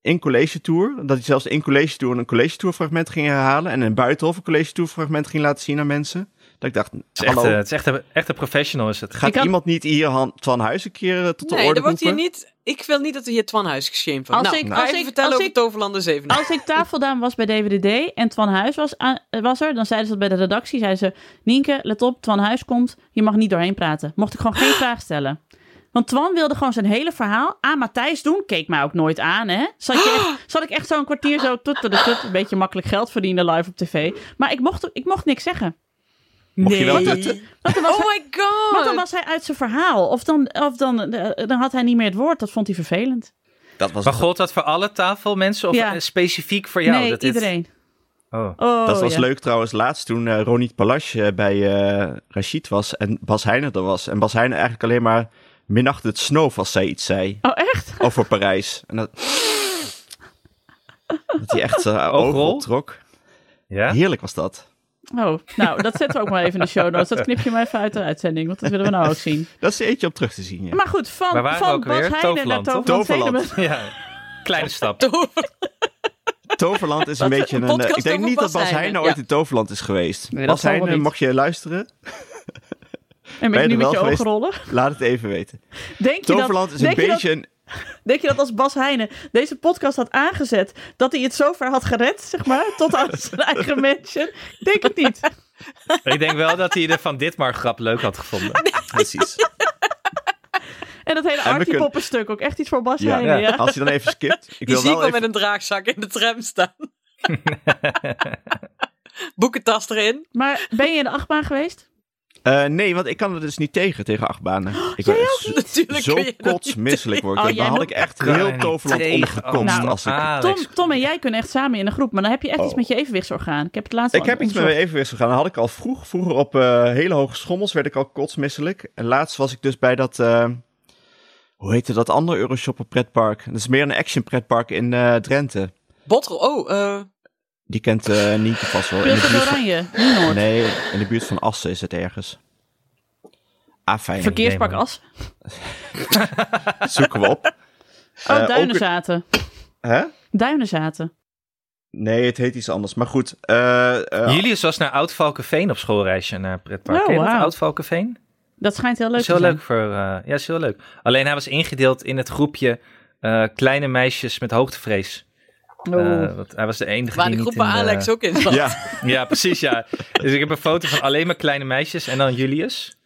in college tour. Dat hij zelfs in college tour een college tour fragment ging herhalen en in buitenhof een college tour fragment ging laten zien aan mensen. Dat ik dacht, Het is echt, hallo, eh, het is echt, een, echt een professional is het. gaat had- iemand niet hier Han- Twan Huis een keer eh, tot de nee, orde dat wordt hier roepen? niet. Ik wil niet dat we hier Twan Huis Als geshamed worden. nou, ik- ga als even ik- vertellen als over ik- Toverlanden Zevenum. Als ik tafeldame was bij DWDD en Twan Huis was, aan- was er, dan zeiden ze dat bij de redactie. Zeiden ze, Nienke, let op, Twan Huis komt, je mag niet doorheen praten. Mocht ik gewoon geen vraag stellen. Want Twan wilde gewoon zijn hele verhaal aan Matthijs doen. Keek mij ook nooit aan, hè. Zat, je echt, zat ik echt zo'n kwartier zo tut, tut, tut, een beetje makkelijk geld verdienen live op tv. Maar ik mocht, ik mocht niks zeggen. Mocht je wel Nee. dit- Oh my god! Want dan was hij uit zijn verhaal. Of dan, of dan, eh, dan had hij niet meer het woord. Dat vond hij vervelend. Dat was, Maar gold dat voor alle tafelmensen of Ja. eh, specifiek voor jou? nee, dat dit- iedereen. Oh. Oh, dat was ja. leuk trouwens laatst toen eh Ronnie Palache eh, bij eh Rachid was en Bas Heijnen er was. En Bas Heijnen eigenlijk alleen maar minachtte het snoof als zij iets zei. Oh, echt? over Parijs. En dat, dat hij echt zijn ogen Oogrol? optrok. Ja? Heerlijk was dat. Oh, nou, dat zetten we ook maar even in de show notes. Dat knip je maar even uit de uitzending, want dat willen we nou ook zien. Dat is er eentje op terug te zien, ja. Maar goed, Waar van, waren we van ook Bas weer? Heijnen Toverland, naar toch? Toverland Toverland. Zevenum. Ja, kleine stap. Toverland is een Wat beetje een een... eh, podcast ik denk over niet dat Bas Bas Heijnen Heijnen, ooit ja. in Toverland is geweest. Nee, dat Bas zal wel Heijnen, niet. mocht je luisteren? En Ben ben je je nu er met je wel geweest? ogen rollen? Laat het even weten. Denk je, Toverland dat, is een denk, je dat, beetje een... denk je dat als Bas Heijnen deze podcast had aangezet, dat hij het zo ver had gered, zeg maar, tot aan zijn eigen mansion? Denk het niet. Ik denk wel dat hij de Van Ditmar grap leuk had gevonden. Precies. En dat hele kunnen- Artie poppenstuk, ook echt iets voor Bas Ja, Heijnen, ja. Als je dan even skipt. Ik Die wil zie ik wel wel even... met een draagzak in de tram staan. Boekentas erin. Maar ben je in de achtbaan geweest? Eh, nee, want ik kan er dus niet tegen, tegen achtbanen. Ik ben echt zo- Natuurlijk zo kun je dat niet kotsmisselijk word ik. Oh, Dan jij had moet- ik echt heel Toverland Tegen- ondergekomst. Oh, nou, als ik... Alex. Tom, Tom en jij kunnen echt samen in een groep, maar dan heb je echt Oh. iets met je evenwichtsorgaan. Ik heb het laatst Ik al heb iets met mijn onderzocht. evenwicht gegaan. Dat had ik al vroeg. Vroeger op eh, hele hoge schommels werd ik al kotsmisselijk. En laatst was ik dus bij dat... eh, hoe heette dat andere Euroshopper pretpark? Dat is meer een action pretpark in eh, Drenthe. Botrol. Oh, eh, Die kent eh Nienke vast wel. In de Pils en buurt van, Oranje, Nienoord. nee, in de buurt van Assen is het ergens. Ah, fijn. Verkeerspak Nee, man. As. Zoeken we op. Oh, Eh, ook- Duinenzaten. Hè? Duinenzaten. Nee, het heet iets anders. Maar goed. eh, eh, Julius was naar Oud-Valkenveen op schoolreisje naar pretpark. Oh, Ken je dat, wauw. Oud-Valkenveen? Dat schijnt heel leuk Dat te is heel zijn. leuk voor... eh, ja, is heel leuk. Alleen hij was ingedeeld in het groepje eh, kleine meisjes met hoogtevrees. Eh, Oh. want hij was de enige waar die de niet groep bij in de- Alex ook in zat. ja, Ja, precies, ja. Dus ik heb een foto van alleen maar kleine meisjes en dan Julius.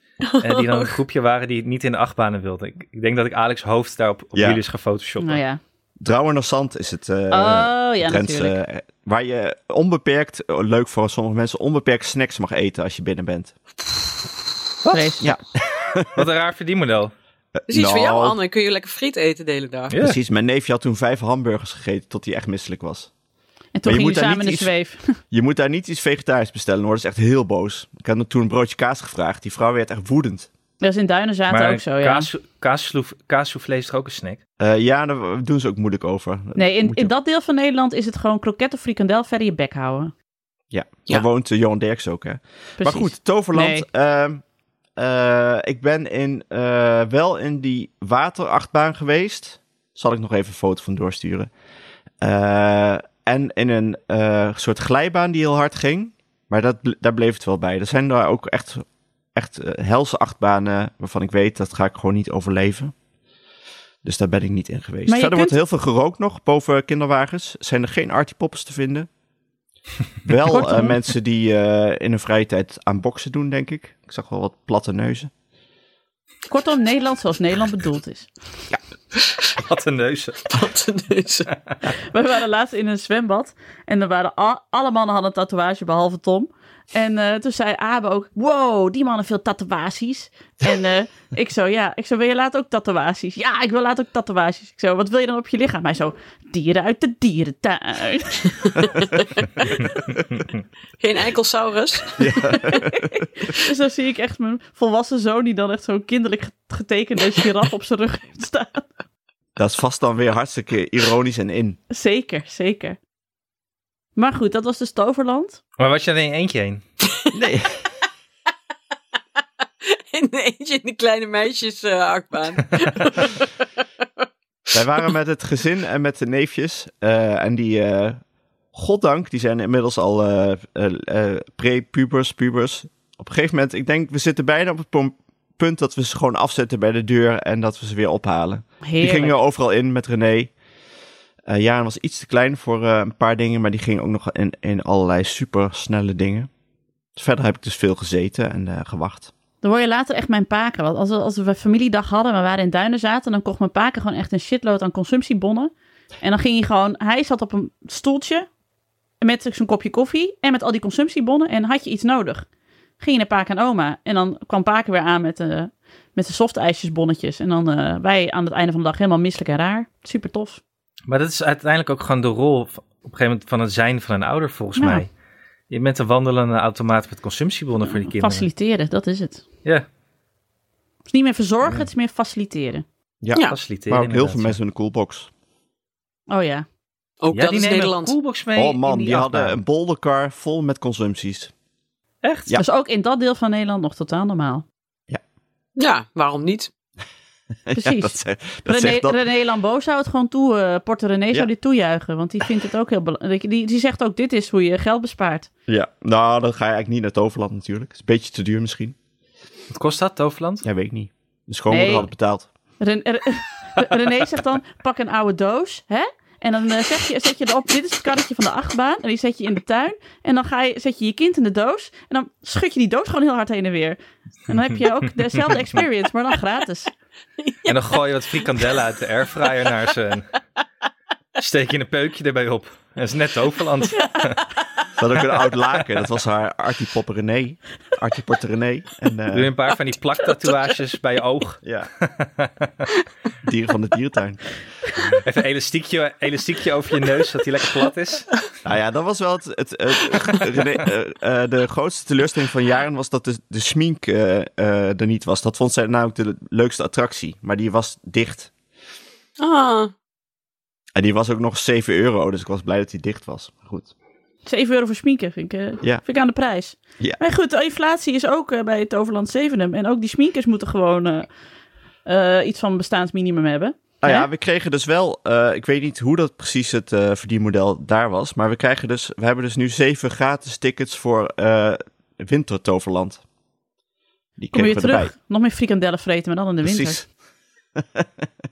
En die dan een groepje waren die niet in de achtbanen wilden. Ik, ik denk dat ik Alex hoofd daarop op Ja. Julius ga photoshoppen. nou ja. Drouwen naar Zand is het. eh, oh ja, Trends, natuurlijk. eh, waar je onbeperkt, eh, leuk voor sommige mensen, onbeperkt snacks mag eten als je binnen bent. Vreselijk. Ja. Wat een raar verdienmodel. Dus iets voor Nou, jou, Anne. Kun je lekker friet eten de hele dag. Ja. Precies, mijn neefje had toen vijf hamburgers gegeten tot hij echt misselijk was. En toen je gingen we moet daar samen in niet de iets- zweef. Je moet daar niet iets vegetarisch bestellen hoor, dat is echt heel boos. Ik had hem toen een broodje kaas gevraagd, die vrouw werd echt woedend. Dat is in Duinenzaten Maar ook zo, ja. kaas, kaassoufflé- kaassoufflé is toch ook een snack? Eh, ja, daar doen ze ook moeilijk over. Nee, in, Moet je- in dat deel van Nederland is het gewoon kroket of frikandel verder je bek houden. Ja, Ja. daar woont eh, Johan Derks ook hè. Precies. Maar goed, Toverland. Nee. ehm, eh, ik ben in, eh, wel in die waterachtbaan geweest. Zal ik nog even een foto van doorsturen. Eh, en in een eh, soort glijbaan die heel hard ging. Maar dat, bl- daar bleef het wel bij. Er zijn daar ook echt, echt eh, helse achtbanen waarvan ik weet dat ga ik gewoon niet overleven. Dus daar ben ik niet in geweest. Maar je Verder wordt kunt- heel veel gerookt nog boven kinderwagens. Zijn er geen artipoppers te vinden? wel eh, Kortom. mensen die eh, in hun vrije tijd aan boksen doen, denk ik. Ik zag wel wat platte neuzen. Kortom, Nederland zoals Nederland bedoeld is. Wat een neuzen. Patteneuzen. We waren laatst in een zwembad. En er waren al- alle mannen hadden een tatoeage, behalve Tom. En eh, toen zei Abe ook, wow, die mannen veel tatoeages. En eh, ik zo, ja, ik zo, wil je later ook tatoeages? Ja, ik wil later ook tatoeages. Ik zo, wat wil je dan op je lichaam? Hij zo, dieren uit de dierentuin. Geen enkelsaurus. Dus dan zie ik echt mijn volwassen zoon die dan echt zo'n kinderlijk ge- getekende giraf op zijn rug heeft staan. Dat is vast dan weer hartstikke ironisch en in. Zeker, zeker. Maar goed, dat was dus Toverland. Maar was je er in je eentje heen? Nee. In de eentje in die kleine meisjes eh, achtbaan. Wij waren met het gezin en met de neefjes. eh, en die, eh, goddank, die zijn inmiddels al eh eh, eh, pre-pubers, pubers. Op een gegeven moment, ik denk, we zitten bijna op het pom- punt dat we ze gewoon afzetten bij de deur en dat we ze weer ophalen. Heerlijk. Die gingen overal in met René. Eh Jaren was iets te klein voor eh, een paar dingen, maar die ging ook nog in, in allerlei supersnelle dingen. Dus verder heb ik dus veel gezeten en eh, gewacht. Dan word je later echt mijn paken. Want als we, als we familiedag hadden en we waren in Duinen zaten, dan kocht mijn paken gewoon echt een shitload aan consumptiebonnen. En dan ging hij gewoon, hij zat op een stoeltje met zijn kopje koffie en met al die consumptiebonnen. En had je iets nodig, ging je naar paken en oma. En dan kwam paken weer aan met de, met de softijsjesbonnetjes. En dan eh, wij aan het einde van de dag helemaal misselijk en raar. Super tof. Maar dat is uiteindelijk ook gewoon de rol v- op een gegeven moment van het zijn van een ouder, volgens Ja. mij. Je bent een wandelende automaat met consumptiebonnen voor die kinderen. Faciliteren, dat is het. Het Ja, is niet meer verzorgen, het is meer faciliteren. Ja, Ja, faciliteren. maar ook heel veel inderdaad, mensen in de coolbox. Oh ja. Ook ja. Ja, die dat is nemen Nederland. een coolbox mee. Oh man, in die, achtbaan. hadden een bolderkar vol met consumpties. Echt? Ja. Dus ook in dat deel van Nederland nog totaal normaal. Ja, waarom niet? Precies. dat zei- dat René, zegt dat- René Lambeau zou het gewoon toe, eh Porto René Ja. zou dit toejuichen, want die vindt het ook heel belangrijk. Die, die zegt ook, dit is hoe je geld bespaart. Ja, nou, dan ga je eigenlijk niet naar Toverland natuurlijk. Is een beetje te duur misschien. Wat kost dat, Toverland? Ja, weet ik niet. De schoonmoeder Nee. had het betaald. Ren- Re- René zegt dan, pak een oude doos, hè? En dan eh, zeg je, zet je erop, dit is het karretje van de achtbaan, en die zet je in de tuin. En dan ga je, zet je je kind in de doos, en dan schud je die doos gewoon heel hard heen en weer. En dan heb je ook dezelfde experience, maar dan gratis. En dan gooi je wat frikandellen uit de airfryer naar ze. en Steek je een peukje erbij op. Dat is net Toverland. Ze had ook een oud laken. Dat was haar Artie Popper René. Artie Porter René. En, eh, Doe je een paar van die plaktatoeages bij je oog. Ja. Dieren van de dierentuin. Even een elastiekje, elastiekje over je neus, dat die lekker plat is. Nou ja, dat was wel het... het, het- René, eh, eh, de grootste teleurstelling van jaren was dat de, de smink eh, eh, er niet was. Dat vond zij namelijk de leukste attractie. Maar die was dicht. Ah, En die was ook nog 7 euro. Dus ik was blij dat die dicht was. Maar goed. 7 euro voor sminken vind ik, eh, Ja. vind ik aan de prijs. Ja. Maar goed, de inflatie is ook eh, bij het Overland Zevenum. En ook die sminkers moeten gewoon eh, eh, iets van bestaansminimum hebben. Nou Hè? ja, we kregen dus wel, eh, ik weet niet hoe dat precies het eh, verdienmodel daar was, maar we krijgen dus, we hebben dus nu zeven gratis tickets voor eh Wintertoverland. Die Kom je kregen weer we terug. erbij. Nog meer frikandellen vreten, maar dan in de winter. Precies.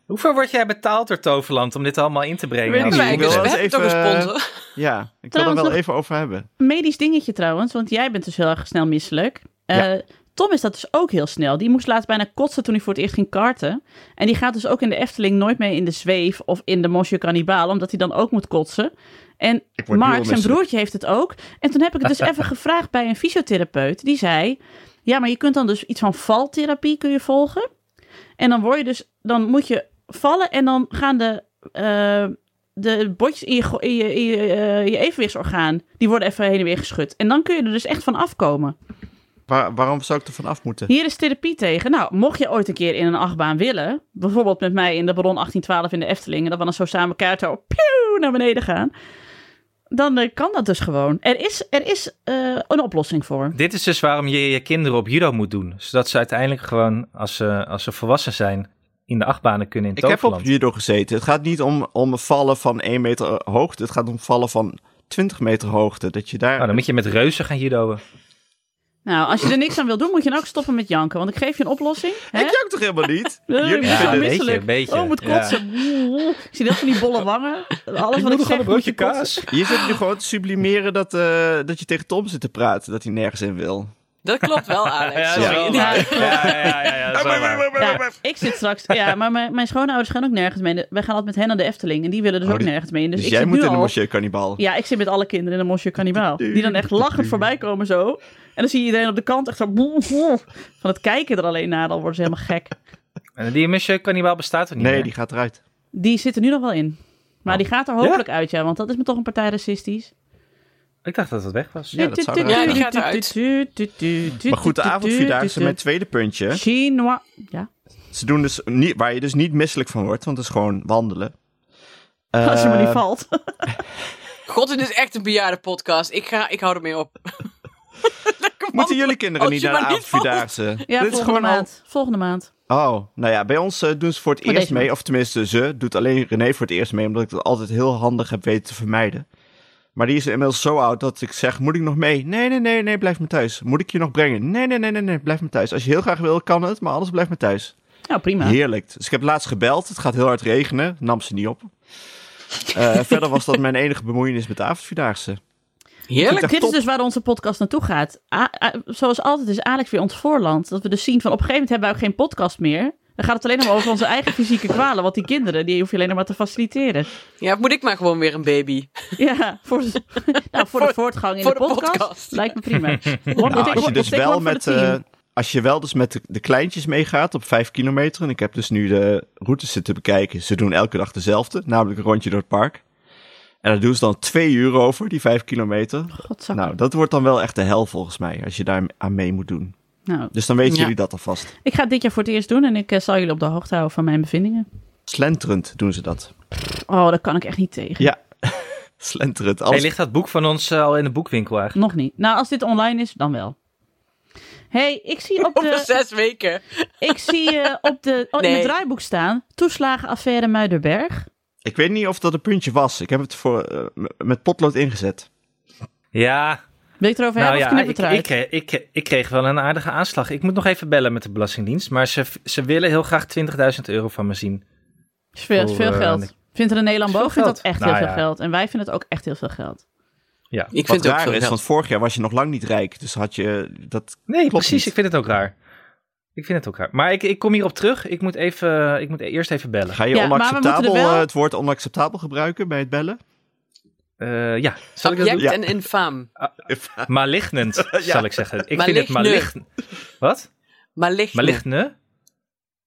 Hoeveel word jij betaald door Toverland om dit allemaal in te brengen? Weet ik wij niet. wil dus wel we eens hebben toch een even- sponsor. Ja, ik wil er Trouwens wel nog- even over hebben. Een medisch dingetje trouwens, want jij bent dus heel erg snel misselijk. Eh, Tom is dat dus ook heel snel. Die moest laatst bijna kotsen toen hij voor het eerst ging karten. En die gaat dus ook in de Efteling nooit mee in de zweef of in de Monsieur Cannibal, omdat hij dan ook moet kotsen. En Ik word nu al Mark, zijn misselijk. broertje, heeft het ook. En toen heb ik het dus even gevraagd bij een fysiotherapeut. Die zei, ja, maar je kunt dan dus iets van valtherapie kun je volgen. En dan word je dus, dan moet je vallen en dan gaan de, eh, de botjes in je, go- in je, in je, eh, je evenwichtsorgaan, die worden even heen en weer geschud. En dan kun je er dus echt van afkomen. Waar- waarom zou ik er van af moeten? Hier is therapie tegen. Nou, mocht je ooit een keer in een achtbaan willen, bijvoorbeeld met mij in de Baron 1812 in de Efteling, en dat we dan zo samen kaarten op, pieuw, naar beneden gaan. dan eh, kan dat dus gewoon. Er is, er is eh, een oplossing voor. Dit is dus waarom je je kinderen op judo moet doen. Zodat ze uiteindelijk gewoon, als ze, als ze volwassen zijn, in de achtbanen kunnen in Ik heb op Toverland. judo gezeten. Het gaat niet om, om vallen van 1 meter eh, hoogte. Het gaat om vallen van 20 meter hoogte. Dat je daar... Oh, dan moet je met reuzen gaan judoën. Nou, als je er niks aan wil doen, moet je dan ook stoppen met janken. Want ik geef je een oplossing. Hè? Ik jank toch helemaal niet? Eh, ik Jullie ben zo Ja, vinden... weet je, misselijk. een beetje. Oh, ik moet kotsen. Ik zie dat van die bolle wangen. Alles wat ik zeg, moet je kotsen. Je zit nu gewoon te sublimeren dat, eh, dat je tegen Tom zit te praten. Dat hij nergens in Dus wil. Dat klopt wel, Alex. Sorry. Ja. Ja, ja, ja, ja, dat is wel waar. Ja, ik zit straks. Ja, maar mijn, mijn schoonouders gaan ook nergens mee. De- Wij gaan altijd met hen naar de Efteling. En die willen dus Oh, ook die- nergens mee. in. Dus, Dus, ik jij zit moet nu in de al- Monsieur Cannibal. Ja, ik zit met alle kinderen in een Monsieur Cannibal. Die dan echt lachend voorbij komen zo. En dan zie je iedereen op de kant echt zo. Van het kijken er alleen naar, dan worden ze helemaal gek. En die Monsieur Cannibal bestaat er niet nee, meer. die gaat eruit. Die zit er nu nog wel in. Maar die gaat er hopelijk uit, ja. Want dat is me toch een partij racistisch. Ik dacht dat het weg was. Ja, dat zou eruit Ja, die gaat eruert. Maar goed, de avondvierdaagse, mijn tweede puntje. Chinois. Ja. Ze doen dus niet, waar je dus niet misselijk van wordt, want het is gewoon wandelen. Als je maar niet Eh, valt. God, dit is echt een bejaarde podcast. Ik, ga, ik hou ermee op. Lekker Moeten wandelen. jullie kinderen Als niet je naar de maar niet valt. avondvierdaagse? Ja, Dit is volgende gewoon al- maand. Volgende maand. Oh, nou ja, bij ons eh, doen ze voor het Maar eerst deze mee. maand. Of tenminste, ze doet alleen René voor het eerst mee, omdat ik dat altijd heel handig heb weten te vermijden. Maar die is inmiddels zo oud dat ik zeg, moet ik nog mee? Nee, nee, nee, nee, blijf me thuis. Moet ik je nog brengen? Nee, nee, nee, nee, nee, blijf me thuis. Als je heel graag wil, kan het, maar anders blijf me thuis. Nou, prima. Heerlijk. Dus ik heb laatst gebeld. Het gaat heel hard regenen. Nam ze niet op. Eh, verder was dat mijn enige bemoeienis met de avondvierdaagse. Heerlijk. Echt Dit is top. dus waar onze podcast naartoe gaat. A- A- zoals altijd is Alex weer ons voorland. Dat we dus zien van op een gegeven moment hebben we ook geen podcast meer. Dan gaat het alleen maar over onze eigen fysieke kwalen. Want die kinderen, die hoef je alleen nog maar te faciliteren. Ja, moet ik maar gewoon weer een baby. Ja, voor, nou, voor de voortgang in voor de, de podcast, podcast. lijkt me prima. Nou, als je dus wel met, eh, als je wel dus met de, de kleintjes meegaat op vijf kilometer. En ik heb dus nu de routes zitten bekijken. Ze doen elke dag dezelfde. Namelijk een rondje door het park. En daar doen ze dan twee uur over, die vijf kilometer. Godzakken. Nou, dat wordt dan wel echt de hel volgens mij. Als je daar aan mee moet doen. Nou, Dus dan weten Ja. jullie dat alvast. ik ga het dit jaar voor het eerst doen en ik eh, zal jullie op de hoogte houden van mijn bevindingen. Slenterend doen ze dat. Oh, daar kan ik echt niet tegen. Ja, slenterend. Hey, Alles ligt dat boek van ons eh, al in de boekwinkel eigenlijk? Nog niet. Nou, als dit online is, dan wel. hey, ik zie op Over de, zes weken. ik zie, eh, op de oh, in Nee. het draaiboek staan toeslagenaffaire Muiderberg. Ik weet niet of dat een puntje was. Ik heb het voor, eh, m- met potlood ingezet. Ja, Wil je het erover hebben nou ja, of knip ik, het ik, eruit? kreeg, ik, ik kreeg wel een aardige aanslag. Ik moet nog even bellen met de Belastingdienst. Maar ze, ze willen heel graag 20.000 euro van me zien. is veel, is Oh, veel eh, geld. nee. Vindt er een Nederland Is veel boven vindt dat geld. echt Nou heel ja. veel geld. En wij vinden het ook echt heel veel geld. Ja. Ik Wat vind het ook raar zo is, geld. want vorig jaar was je nog lang niet rijk. Dus had je dat... Nee, precies. niet. Ik vind het ook raar. Ik vind het ook raar. Maar ik, ik kom hierop terug. Ik moet, even, ik moet eerst even bellen. Ga je Ja, maar we onacceptabel, moeten er wel- eh, het woord onacceptabel gebruiken bij het bellen? Eh, ja, zal ik dat Abject doen? Ja. en infaam. Malignend, zal ik zeggen. Ik vind het Maligne. malign... Wat? Maar licht. Maligne?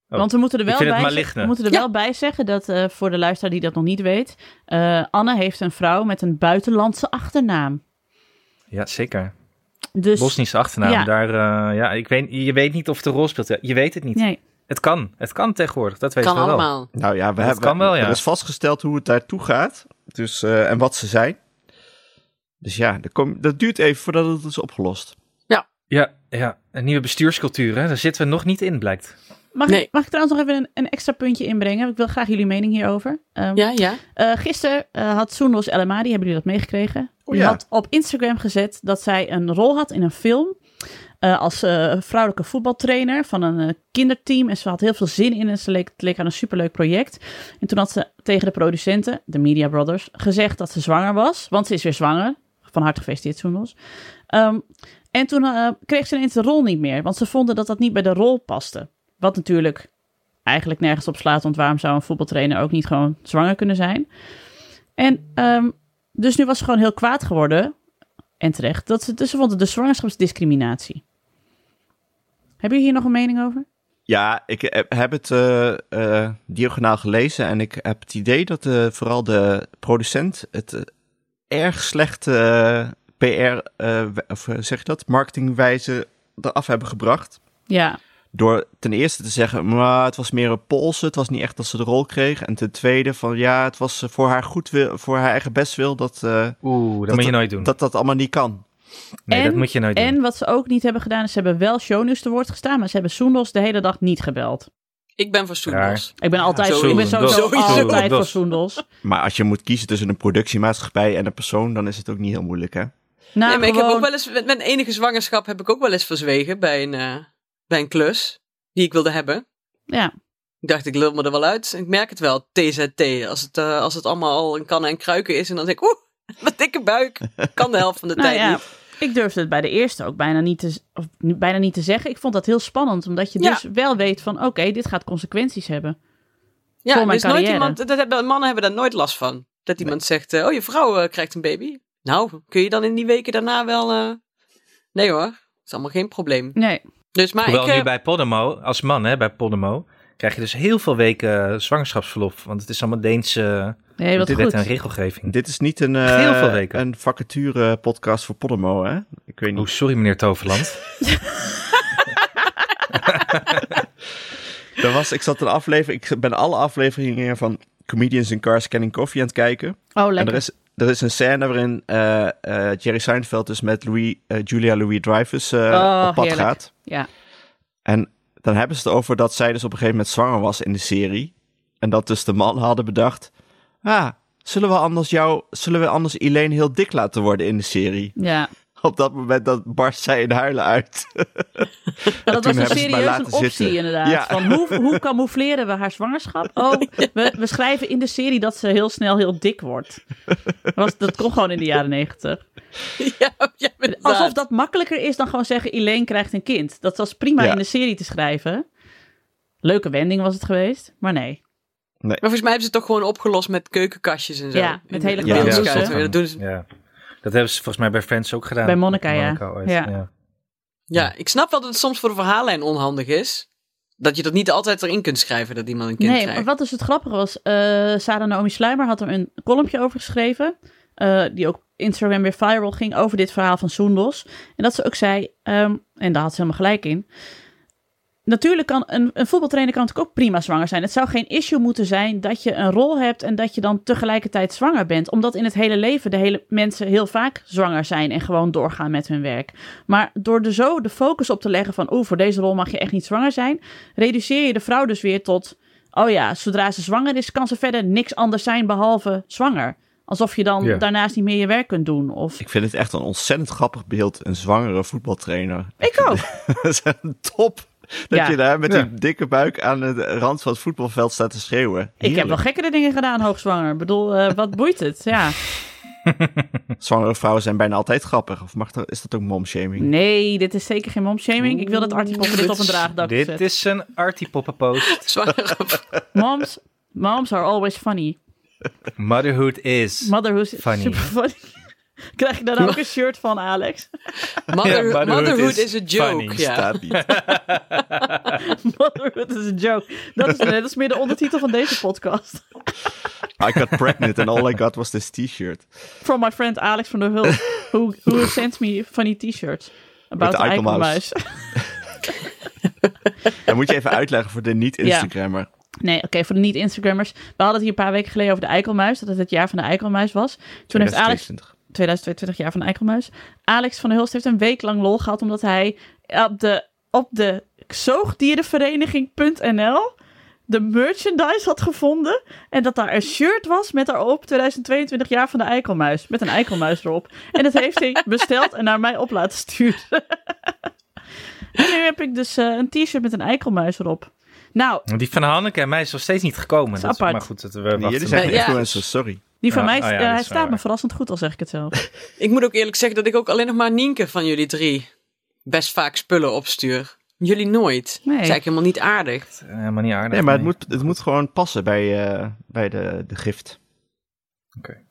Oh, Want we moeten er ik wel, vind het bij, maligne. we moeten er Ja. wel bij zeggen dat eh, voor de luisteraar die dat nog niet weet. eh, Anne heeft een vrouw met een buitenlandse achternaam. Ja, zeker. Dus, Bosnische achternaam. Ja. Daar, eh, ja, ik weet, je weet niet of de rol speelt. Je weet het niet. Nee, Het kan. Het kan tegenwoordig. Dat weten Kan we wel. allemaal. Nou ja, we Dat hebben, kan wel, ja. er is vastgesteld hoe het daartoe gaat. Dus, eh, en wat ze zijn. Dus ja, dat, kom- dat duurt even voordat het is opgelost. Ja, ja, een nieuwe bestuurscultuur. Hè? Daar zitten we nog niet in, blijkt. Mag, Nee. Ik, mag ik trouwens nog even een, een extra puntje inbrengen? Ik wil graag jullie mening hierover. Ehm, Ja, ja. eh, gisteren eh, had Soendos El Amadi, hebben jullie dat meegekregen? Oh Die ja. had op Instagram gezet dat zij een rol had in een film. eh, als eh, vrouwelijke voetbaltrainer van een eh, kinderteam. En ze had heel veel zin in en ze leek, het leek aan een superleuk project. En toen had ze tegen de producenten, de Media Brothers, gezegd dat ze zwanger was. Want ze is weer zwanger. Van harte gefeliciteerd, Soendos. Ehm, en toen eh, kreeg ze ineens de rol niet meer. Want ze vonden dat dat niet bij de rol paste. Wat natuurlijk eigenlijk nergens op slaat. Want waarom zou een voetbaltrainer ook niet gewoon zwanger kunnen zijn? En ehm, dus nu was ze gewoon heel kwaad geworden. En terecht. Dat ze, dus ze vonden de zwangerschapsdiscriminatie. Hebben jullie hier nog een mening over? Ja, ik eh, heb het eh, eh, diagonaal gelezen en ik heb het idee dat eh, vooral de producent het eh, erg slechte eh, PR, eh, we- of eh, zeg je dat, marketingwijze eraf hebben gebracht. Ja, Door ten eerste te zeggen, maar het was meer een polsen, het was niet echt dat ze de rol kreeg. En ten tweede van, ja, het was eh, voor haar goed wil, voor haar eigen bestwil dat, eh, Oeh, dat, dat moet je nooit doen. dat dat allemaal niet kan. nee, dat En- moet je nooit doen. En wat ze ook niet hebben gedaan, is ze hebben wel shownieuws te woord gestaan, maar ze hebben Soendos de hele dag niet gebeld. Ik ben voor Soendos. Ik ben altijd, sowieso. ik ben sowieso Sowieso. altijd voor Soendos. Soendos. Maar als je moet kiezen tussen een productiemaatschappij en een persoon, dan is het ook niet heel moeilijk, hè? Nou, Nee, maar ik heb gewoon- ook wel eens, met mijn enige zwangerschap heb ik ook wel eens verzwegen bij een, eh, bij een klus die ik wilde hebben. Ja, Ik dacht, ik lul me er wel uit. Ik merk het wel, TZT. Als het, eh, als het allemaal al in kannen en kruiken is en dan denk ik, oeh, wat dikke buik. Kan de helft van de nou tijd ja. niet. Ik durfde het bij de eerste ook bijna niet, te, z- of, n- bijna niet te zeggen. Ik vond dat heel spannend, omdat je Ja. dus wel weet van... oké, dit gaat consequenties hebben. Ja, voor er mijn is nooit carrière. iemand, dat hebben, mannen hebben daar nooit last van. Dat iemand zegt, eh, oh, je vrouw eh, krijgt een baby. Nou, kun je dan in die weken daarna wel... eh, Nee hoor, het is allemaal geen probleem. Nee, Dus maar Ah, Hoewel ik... eh, nu bij Podemo, als man hè, bij Podemo, krijg je dus heel veel weken eh, zwangerschapsverlof. Want het is allemaal Deense nee wat dit wet en goed. regelgeving. Dit is niet een, Heel eh veel weken. een vacature podcast voor Podemo, hè? Ik weet Oh, niet. sorry meneer Toverland. Er was, ik zat een aflevering, ik ben alle afleveringen van Comedians in Cars Canning Coffee aan het kijken. Oh, En er lekker. is, er is een scène waarin eh, eh, Jerry Seinfeld dus met Louis, eh, Julia Louis-Dreyfus eh, Oh, op pad heerlijk. gaat. Ja. En dan hebben ze het over dat zij dus op een gegeven moment zwanger was in de serie. En dat dus de man hadden bedacht, ah, zullen we anders jou, zullen we anders Elaine heel dik laten worden in de serie? Ja, Op dat moment dat barst zij in huilen uit. Maar dat was hebben een ze het maar serieus een laten optie zitten. inderdaad. Ja. Van hoe, hoe camoufleren we haar zwangerschap? Oh, we, we schrijven in de serie dat ze heel snel heel dik wordt. Dat Was, dat kon gewoon in de jaren negentig. ja, ja, inderdaad. Alsof dat makkelijker is dan gewoon zeggen Elaine krijgt een kind. Dat was prima Ja. in de serie te schrijven. Leuke wending was het geweest, maar nee. Maar volgens mij hebben ze het toch gewoon opgelost met keukenkastjes en zo. Ja, met In de- hele in de grote beeldschuiven. keuken. Ja, dat doen ze. Ja. Dat hebben ze volgens mij bij Friends ook gedaan. Bij Monica, ja. ooit, Ja. Ja, ik snap wel dat het soms voor de verhaallijn onhandig is. Dat je dat niet altijd erin kunt schrijven dat iemand een kind nee, krijgt. maar wat dus het grappige was, eh Sarah Naomi Sluimer had er een columnje over geschreven, eh, die ook op Instagram weer viral ging over dit verhaal van Soendos. En dat ze ook zei, ehm, en daar had ze helemaal gelijk in, natuurlijk kan een, een voetbaltrainer kan natuurlijk ook prima zwanger zijn. Het zou geen issue moeten zijn dat je een rol hebt en dat je dan tegelijkertijd zwanger bent. Omdat in het hele leven de hele mensen heel vaak zwanger zijn en gewoon doorgaan met hun werk. Maar door er zo de focus op te leggen van, oeh, voor deze rol mag je echt niet zwanger zijn, reduceer je de vrouw dus weer tot, oh ja, zodra ze zwanger is, kan ze verder niks anders zijn behalve zwanger. Alsof je dan Ja. daarnaast niet meer je werk kunt doen. Of... Ik vind het echt een ontzettend grappig beeld, een zwangere voetbaltrainer. Ik ook. Dat is echt top. Dat Ja. je daar met Ja. die dikke buik aan de rand van het voetbalveld staat te schreeuwen. Ik heb wel Heerlijk. gekkere dingen gedaan, hoogzwanger. Ik bedoel, eh, wat boeit het? Ja. Zwangere vrouwen zijn bijna altijd grappig. Of mag dat, is dat ook momshaming? Nee, dit is zeker geen momshaming. Ik wil dat Artie Poppen dit op een draagdak Mm, Dit zet. is een artipoppenpost. Zwanger Moms, moms are always funny. Motherhood is. Motherhood is Funny. super funny. Krijg je daar ook een shirt van, Alex? Mother- Ja, motherhood, motherhood is is a joke. funny. ja. Staat niet. Motherhood is a joke. Dat is, nee, dat is meer de ondertitel van deze podcast. I got pregnant and all I got was this t-shirt. From my friend Alex van der Hulp. Who, who sent me funny t-shirts. About Met de the eikelmuis. eikelmuis. Dan moet je even uitleggen voor de niet-Instagrammer. Nee, oké, voor de niet-Instagrammers. We hadden het hier een paar weken geleden over de eikelmuis. Dat het het jaar van de eikelmuis was. Toen heeft Alex 2022. 2022 jaar van Eikelmuis. Alex van der Hulst heeft een week lang lol gehad omdat hij op de, op de zoogdierenvereniging.nl de merchandise had gevonden en dat daar een shirt was met daarop 2022 jaar van de Eikelmuis met een Eikelmuis erop. En dat heeft hij besteld en naar mij op laten sturen. en nu heb ik dus eh, een t-shirt met een Eikelmuis erop. Nou, Die van Hanneke en mij is nog steeds niet gekomen. is Dat is- apart. Maar goed, dat we wachten. Jullie zijn Ja. influencers, sorry. die van Ja, mij oh eh, ja, dat is hij wel staat me waar. verrassend goed, al zeg ik het zelf. Ik moet ook eerlijk zeggen dat ik ook alleen nog maar Nienke van jullie drie best vaak spullen opstuur. Jullie nooit. Nee. Dat is eigenlijk helemaal niet aardig. Eh, helemaal niet aardig. Nee, maar het moet, het moet gewoon passen bij, eh, bij de, de gift.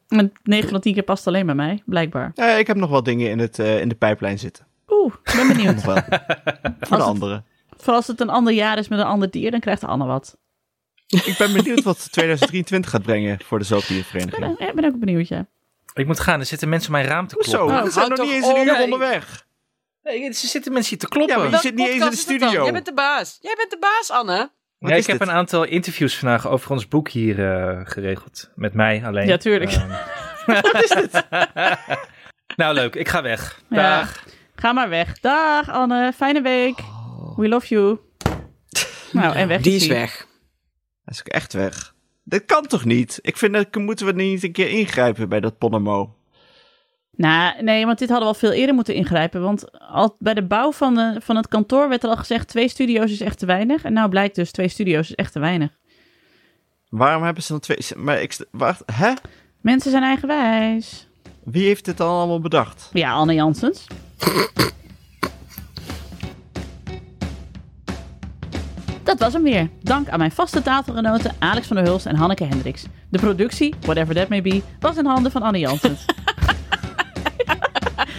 En 9 van 10 keer past alleen bij mij, blijkbaar. Eh, ik heb nog wel dingen in, het, eh, in de pijplijn zitten. Oeh, ik ben benieuwd. Nog wel. voor de het- anderen. Voor als het een ander jaar is met een ander dier, dan krijgt Anne wat. Ik ben benieuwd wat 2023 gaat brengen voor de Ik zoogdiervereniging. ben, ik ben ook benieuwd, ja. Ik moet gaan, er zitten mensen op mijn raam te kloppen. Hoezo? Nou, Oh, We zijn houd nog niet toch eens een op. uur Nee. onderweg. Nee, ze zitten mensen hier te kloppen. Ja, maar Ja, je zit niet eens in de studio. Jij bent de baas. Jij bent de baas, Anne. Wat is ik heb dit? een aantal interviews vandaag over ons boek hier eh, geregeld. Met mij alleen. Ja, tuurlijk. Ehm. nou, leuk. Ik ga weg. Ja. Dag. Ga maar weg. Dag Anne, fijne week. We love you. Nou, en weg. Oh. Die is is hij. weg. Hij is ook echt weg. Dit kan toch niet? Ik vind dat moeten we niet een keer ingrijpen bij dat Ponemo. Nou, nee, want dit hadden we al veel eerder moeten ingrijpen. Want al, bij de bouw van, de, van het kantoor werd er al gezegd... twee studio's is echt te weinig. En nou blijkt dus, twee studio's is echt te weinig. Waarom hebben ze dan twee... Maar ik... Wacht, hè? Mensen zijn eigenwijs. Wie heeft dit dan allemaal bedacht? Ja, Anne Janssens. Dat was hem weer. Dank aan mijn vaste tafelgenoten Alex van der Hulst en Hanneke Hendricks. De productie, whatever that may be, was in handen van Anne Janssens.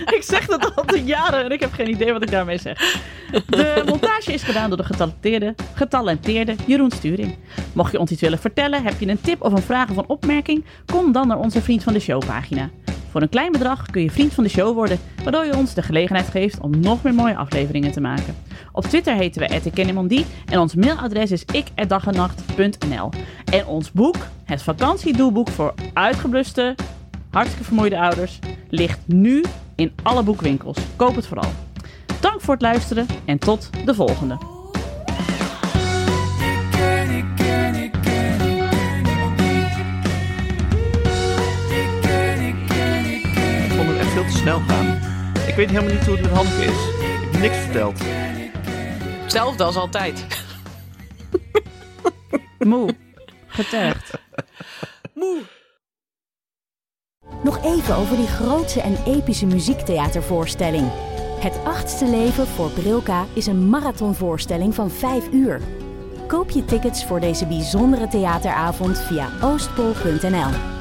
ik zeg dat al te jaren en ik heb geen idee wat ik daarmee zeg. De montage is gedaan door de getalenteerde, getalenteerde Jeroen Sturing. Mocht je ons iets willen vertellen, heb je een tip of een vraag of een opmerking, kom dan naar onze Vriend van de Show pagina. Voor een klein bedrag kun je vriend van de show worden, waardoor je ons de gelegenheid geeft om nog meer mooie afleveringen te maken. Op Twitter heten we @ikkennemondi en ons mailadres is ik@dagennacht.nl. En ons boek, het vakantiedoelboek voor uitgebluste, hartstikke vermoeide ouders, ligt nu in alle boekwinkels. Koop het vooral. Dank voor het luisteren en tot de volgende. Ik ken, ik ken, ik ken, ik ken niemand die. Ik ken, ik ken, ik ken, Ik vond het echt veel te snel gaan. Ik weet helemaal niet hoe het met Hanneke is. Ik heb niks verteld. Hetzelfde als altijd. Moe, getergd. Moe. Nog even over die grootse en epische muziektheatervoorstelling. Het achtste leven voor Brilka is een marathonvoorstelling van 5 uur. Koop je tickets voor deze bijzondere theateravond via oostpol.nl.